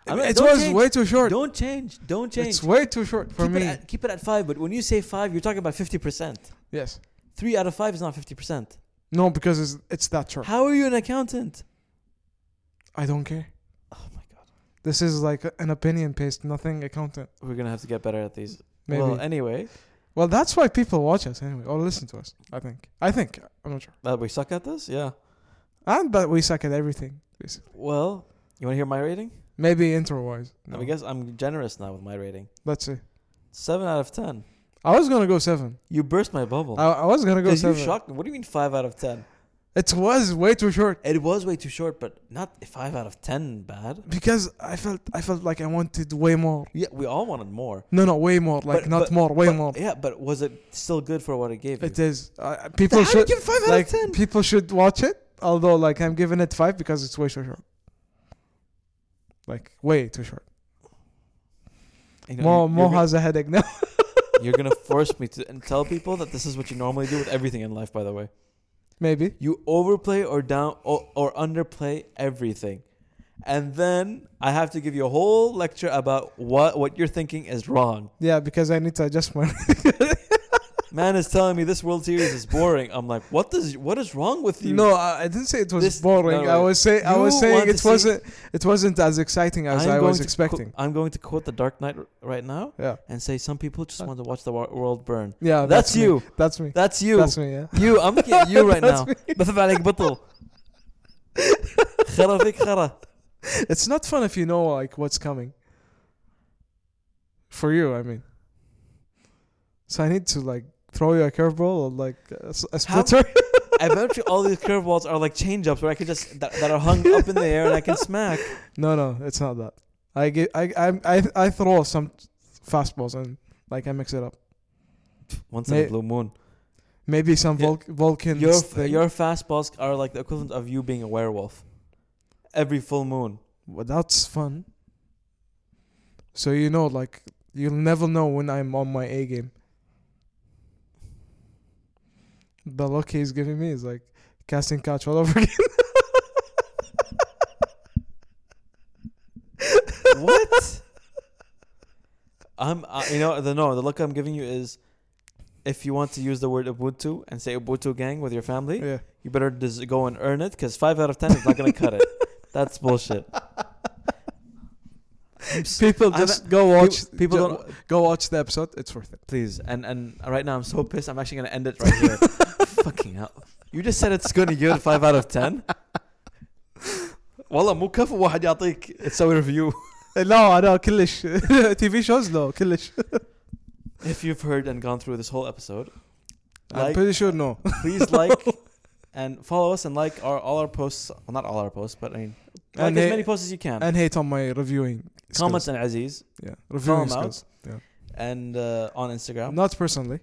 Speaker 2: I mean,
Speaker 1: it
Speaker 2: don't
Speaker 1: was
Speaker 2: change.
Speaker 1: way too short.
Speaker 2: Don't change. Don't change.
Speaker 1: It's way too short for
Speaker 2: keep
Speaker 1: me.
Speaker 2: It at, keep it at five. But when you say five, you're talking about fifty percent.
Speaker 1: yes.
Speaker 2: Three out of five is not fifty percent.
Speaker 1: No, because it's, it's that short.
Speaker 2: How are you an accountant?
Speaker 1: I don't care.
Speaker 2: Oh my god.
Speaker 1: This is like a- an opinion based, nothing accountant.
Speaker 2: We're gonna have to get better at these.
Speaker 1: Maybe.
Speaker 2: Well,
Speaker 1: Well,
Speaker 2: anyway,
Speaker 1: that's why people watch us anyway, or listen to us. I think. I think. I'm not sure.
Speaker 2: that uh, we suck at this. Yeah.
Speaker 1: And but we suck at everything. Basically.
Speaker 2: Well, you want to hear my rating?
Speaker 1: Maybe intro wise.
Speaker 2: I guess I'm generous now with my rating.
Speaker 1: Let's see.
Speaker 2: Seven out of ten.
Speaker 1: I was gonna go seven.
Speaker 2: You burst my bubble.
Speaker 1: I, I was gonna go
Speaker 2: Because you
Speaker 1: seven.
Speaker 2: shocked me. What do you mean five out of ten?
Speaker 1: It was way too short
Speaker 2: It was way too short, but not five out of ten bad.
Speaker 1: because I felt I felt like I wanted way more.
Speaker 2: Yeah, we all wanted more.
Speaker 1: No, no, way more. Like
Speaker 2: But-
Speaker 1: not
Speaker 2: but-
Speaker 1: more, way
Speaker 2: but-
Speaker 1: more.
Speaker 2: Yeah, but was it still good for what it gave you?
Speaker 1: It is. Uh, people
Speaker 2: How
Speaker 1: should
Speaker 2: did you give five out
Speaker 1: like
Speaker 2: of ten?
Speaker 1: people should watch it. Although, like I'm giving it five because it's way too short. Like way too short.
Speaker 2: You know,
Speaker 1: Mo
Speaker 2: you're-
Speaker 1: Mo
Speaker 2: you're gonna-
Speaker 1: has a headache now.
Speaker 2: You're gonna force me to and tell people that this is what you normally do with everything in life. By the way,
Speaker 1: Maybe
Speaker 2: you overplay or down or, or underplay everything, and then I have to give you a whole lecture about what what you're thinking is wrong.
Speaker 1: yeah, because I need to adjust my.
Speaker 2: man is telling me this World Series is boring. I'm like, what does what is wrong with you?
Speaker 1: No, I I didn't say it was
Speaker 2: This-
Speaker 1: boring.
Speaker 2: no, no.
Speaker 1: I was say I
Speaker 2: You
Speaker 1: was
Speaker 2: want
Speaker 1: saying
Speaker 2: to
Speaker 1: it
Speaker 2: see-
Speaker 1: wasn't it wasn't as exciting as
Speaker 2: I'm
Speaker 1: I
Speaker 2: going
Speaker 1: was
Speaker 2: to
Speaker 1: expecting.
Speaker 2: qu- I'm going to quote the Dark Knight r- right now
Speaker 1: yeah,
Speaker 2: and say some people just want to watch the wor- world burn.
Speaker 1: yeah.
Speaker 2: that's,
Speaker 1: me.
Speaker 2: you.
Speaker 1: Uh, That's me.
Speaker 2: That's you.
Speaker 1: That's me. Yeah.
Speaker 2: you. I'm looking at you right now.
Speaker 1: That's
Speaker 2: بثب عليك بطل. خرا فيك خرا.
Speaker 1: It's not fun if you know like what's coming. For you, I mean. So I need to like throw you a curveball or like a, s- a
Speaker 2: How-
Speaker 1: splitter.
Speaker 2: I bet you all these curveballs are like change ups where I could just that, that are hung up in the air and I can smack.
Speaker 1: no, no, it's not that. I get I I'm- I I throw some fastballs and like I mix it up.
Speaker 2: Once in a
Speaker 1: May-
Speaker 2: blue moon.
Speaker 1: Maybe some
Speaker 2: Yeah.
Speaker 1: Vulc- Vulcan.
Speaker 2: Your
Speaker 1: thing.
Speaker 2: your fastballs are like the equivalent of you being a werewolf. Every full moon.
Speaker 1: Well, that's fun. So you know, like you'll never know when I'm on my A game. The look he's giving me is like casting catch all over again.
Speaker 2: what? I'm, uh, you know, the no, the look I'm giving you is, if you want to use the word Ubuntu and say Ubuntu gang with your family,
Speaker 1: yeah.
Speaker 2: you better des- go and earn it because five out of ten is not gonna cut it. That's bullshit. I'm s-
Speaker 1: People
Speaker 2: I'm-
Speaker 1: just go
Speaker 2: peop-
Speaker 1: watch.
Speaker 2: people
Speaker 1: ju-
Speaker 2: don't
Speaker 1: go watch the episode. It's worth it.
Speaker 2: please. And and right now I'm so pissed. I'm actually gonna end it right here. Fucking hell! You just said it's gonna yield five out of ten. والله مو كفو واحد يعطيك تسوي ريفيو
Speaker 1: لا أنا كلش تي في شوز لا كلش.
Speaker 2: If you've heard and gone through this whole episode,
Speaker 1: I'm
Speaker 2: like,
Speaker 1: pretty sure no.
Speaker 2: please like and follow us and like our all our posts. Well, not all our posts, but I mean, like
Speaker 1: And
Speaker 2: as
Speaker 1: ha-
Speaker 2: many posts as you can.
Speaker 1: and hate on my reviewing.
Speaker 2: Comments
Speaker 1: skills.
Speaker 2: and Aziz
Speaker 1: yeah, reviewing
Speaker 2: them out.
Speaker 1: skills.
Speaker 2: and uh, on Instagram.
Speaker 1: Not personally.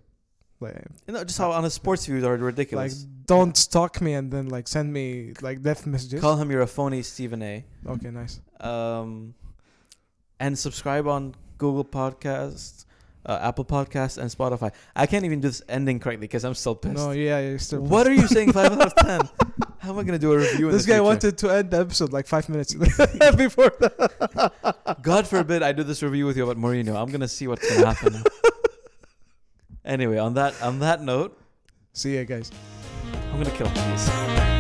Speaker 1: Like,
Speaker 2: You know, just how on a sports views are
Speaker 1: like
Speaker 2: ridiculous.
Speaker 1: don't stalk me and then like send me like death messages.
Speaker 2: Call him you're a phony Stephen A.
Speaker 1: Okay, nice.
Speaker 2: Um, and subscribe on Google Podcasts, uh, Apple Podcasts, and Spotify. I can't even do this ending correctly because I'm still pissed.
Speaker 1: No, yeah, you're still
Speaker 2: what are you saying? Five out of ten. How am I gonna do a review? in
Speaker 1: This
Speaker 2: the
Speaker 1: guy
Speaker 2: future?
Speaker 1: wanted to end the episode like five minutes before that.
Speaker 2: God forbid I do this review with you about Mourinho. I'm gonna see what's gonna happen. anyway, on that on that note,
Speaker 1: See ya, guys.
Speaker 2: I'm gonna kill these.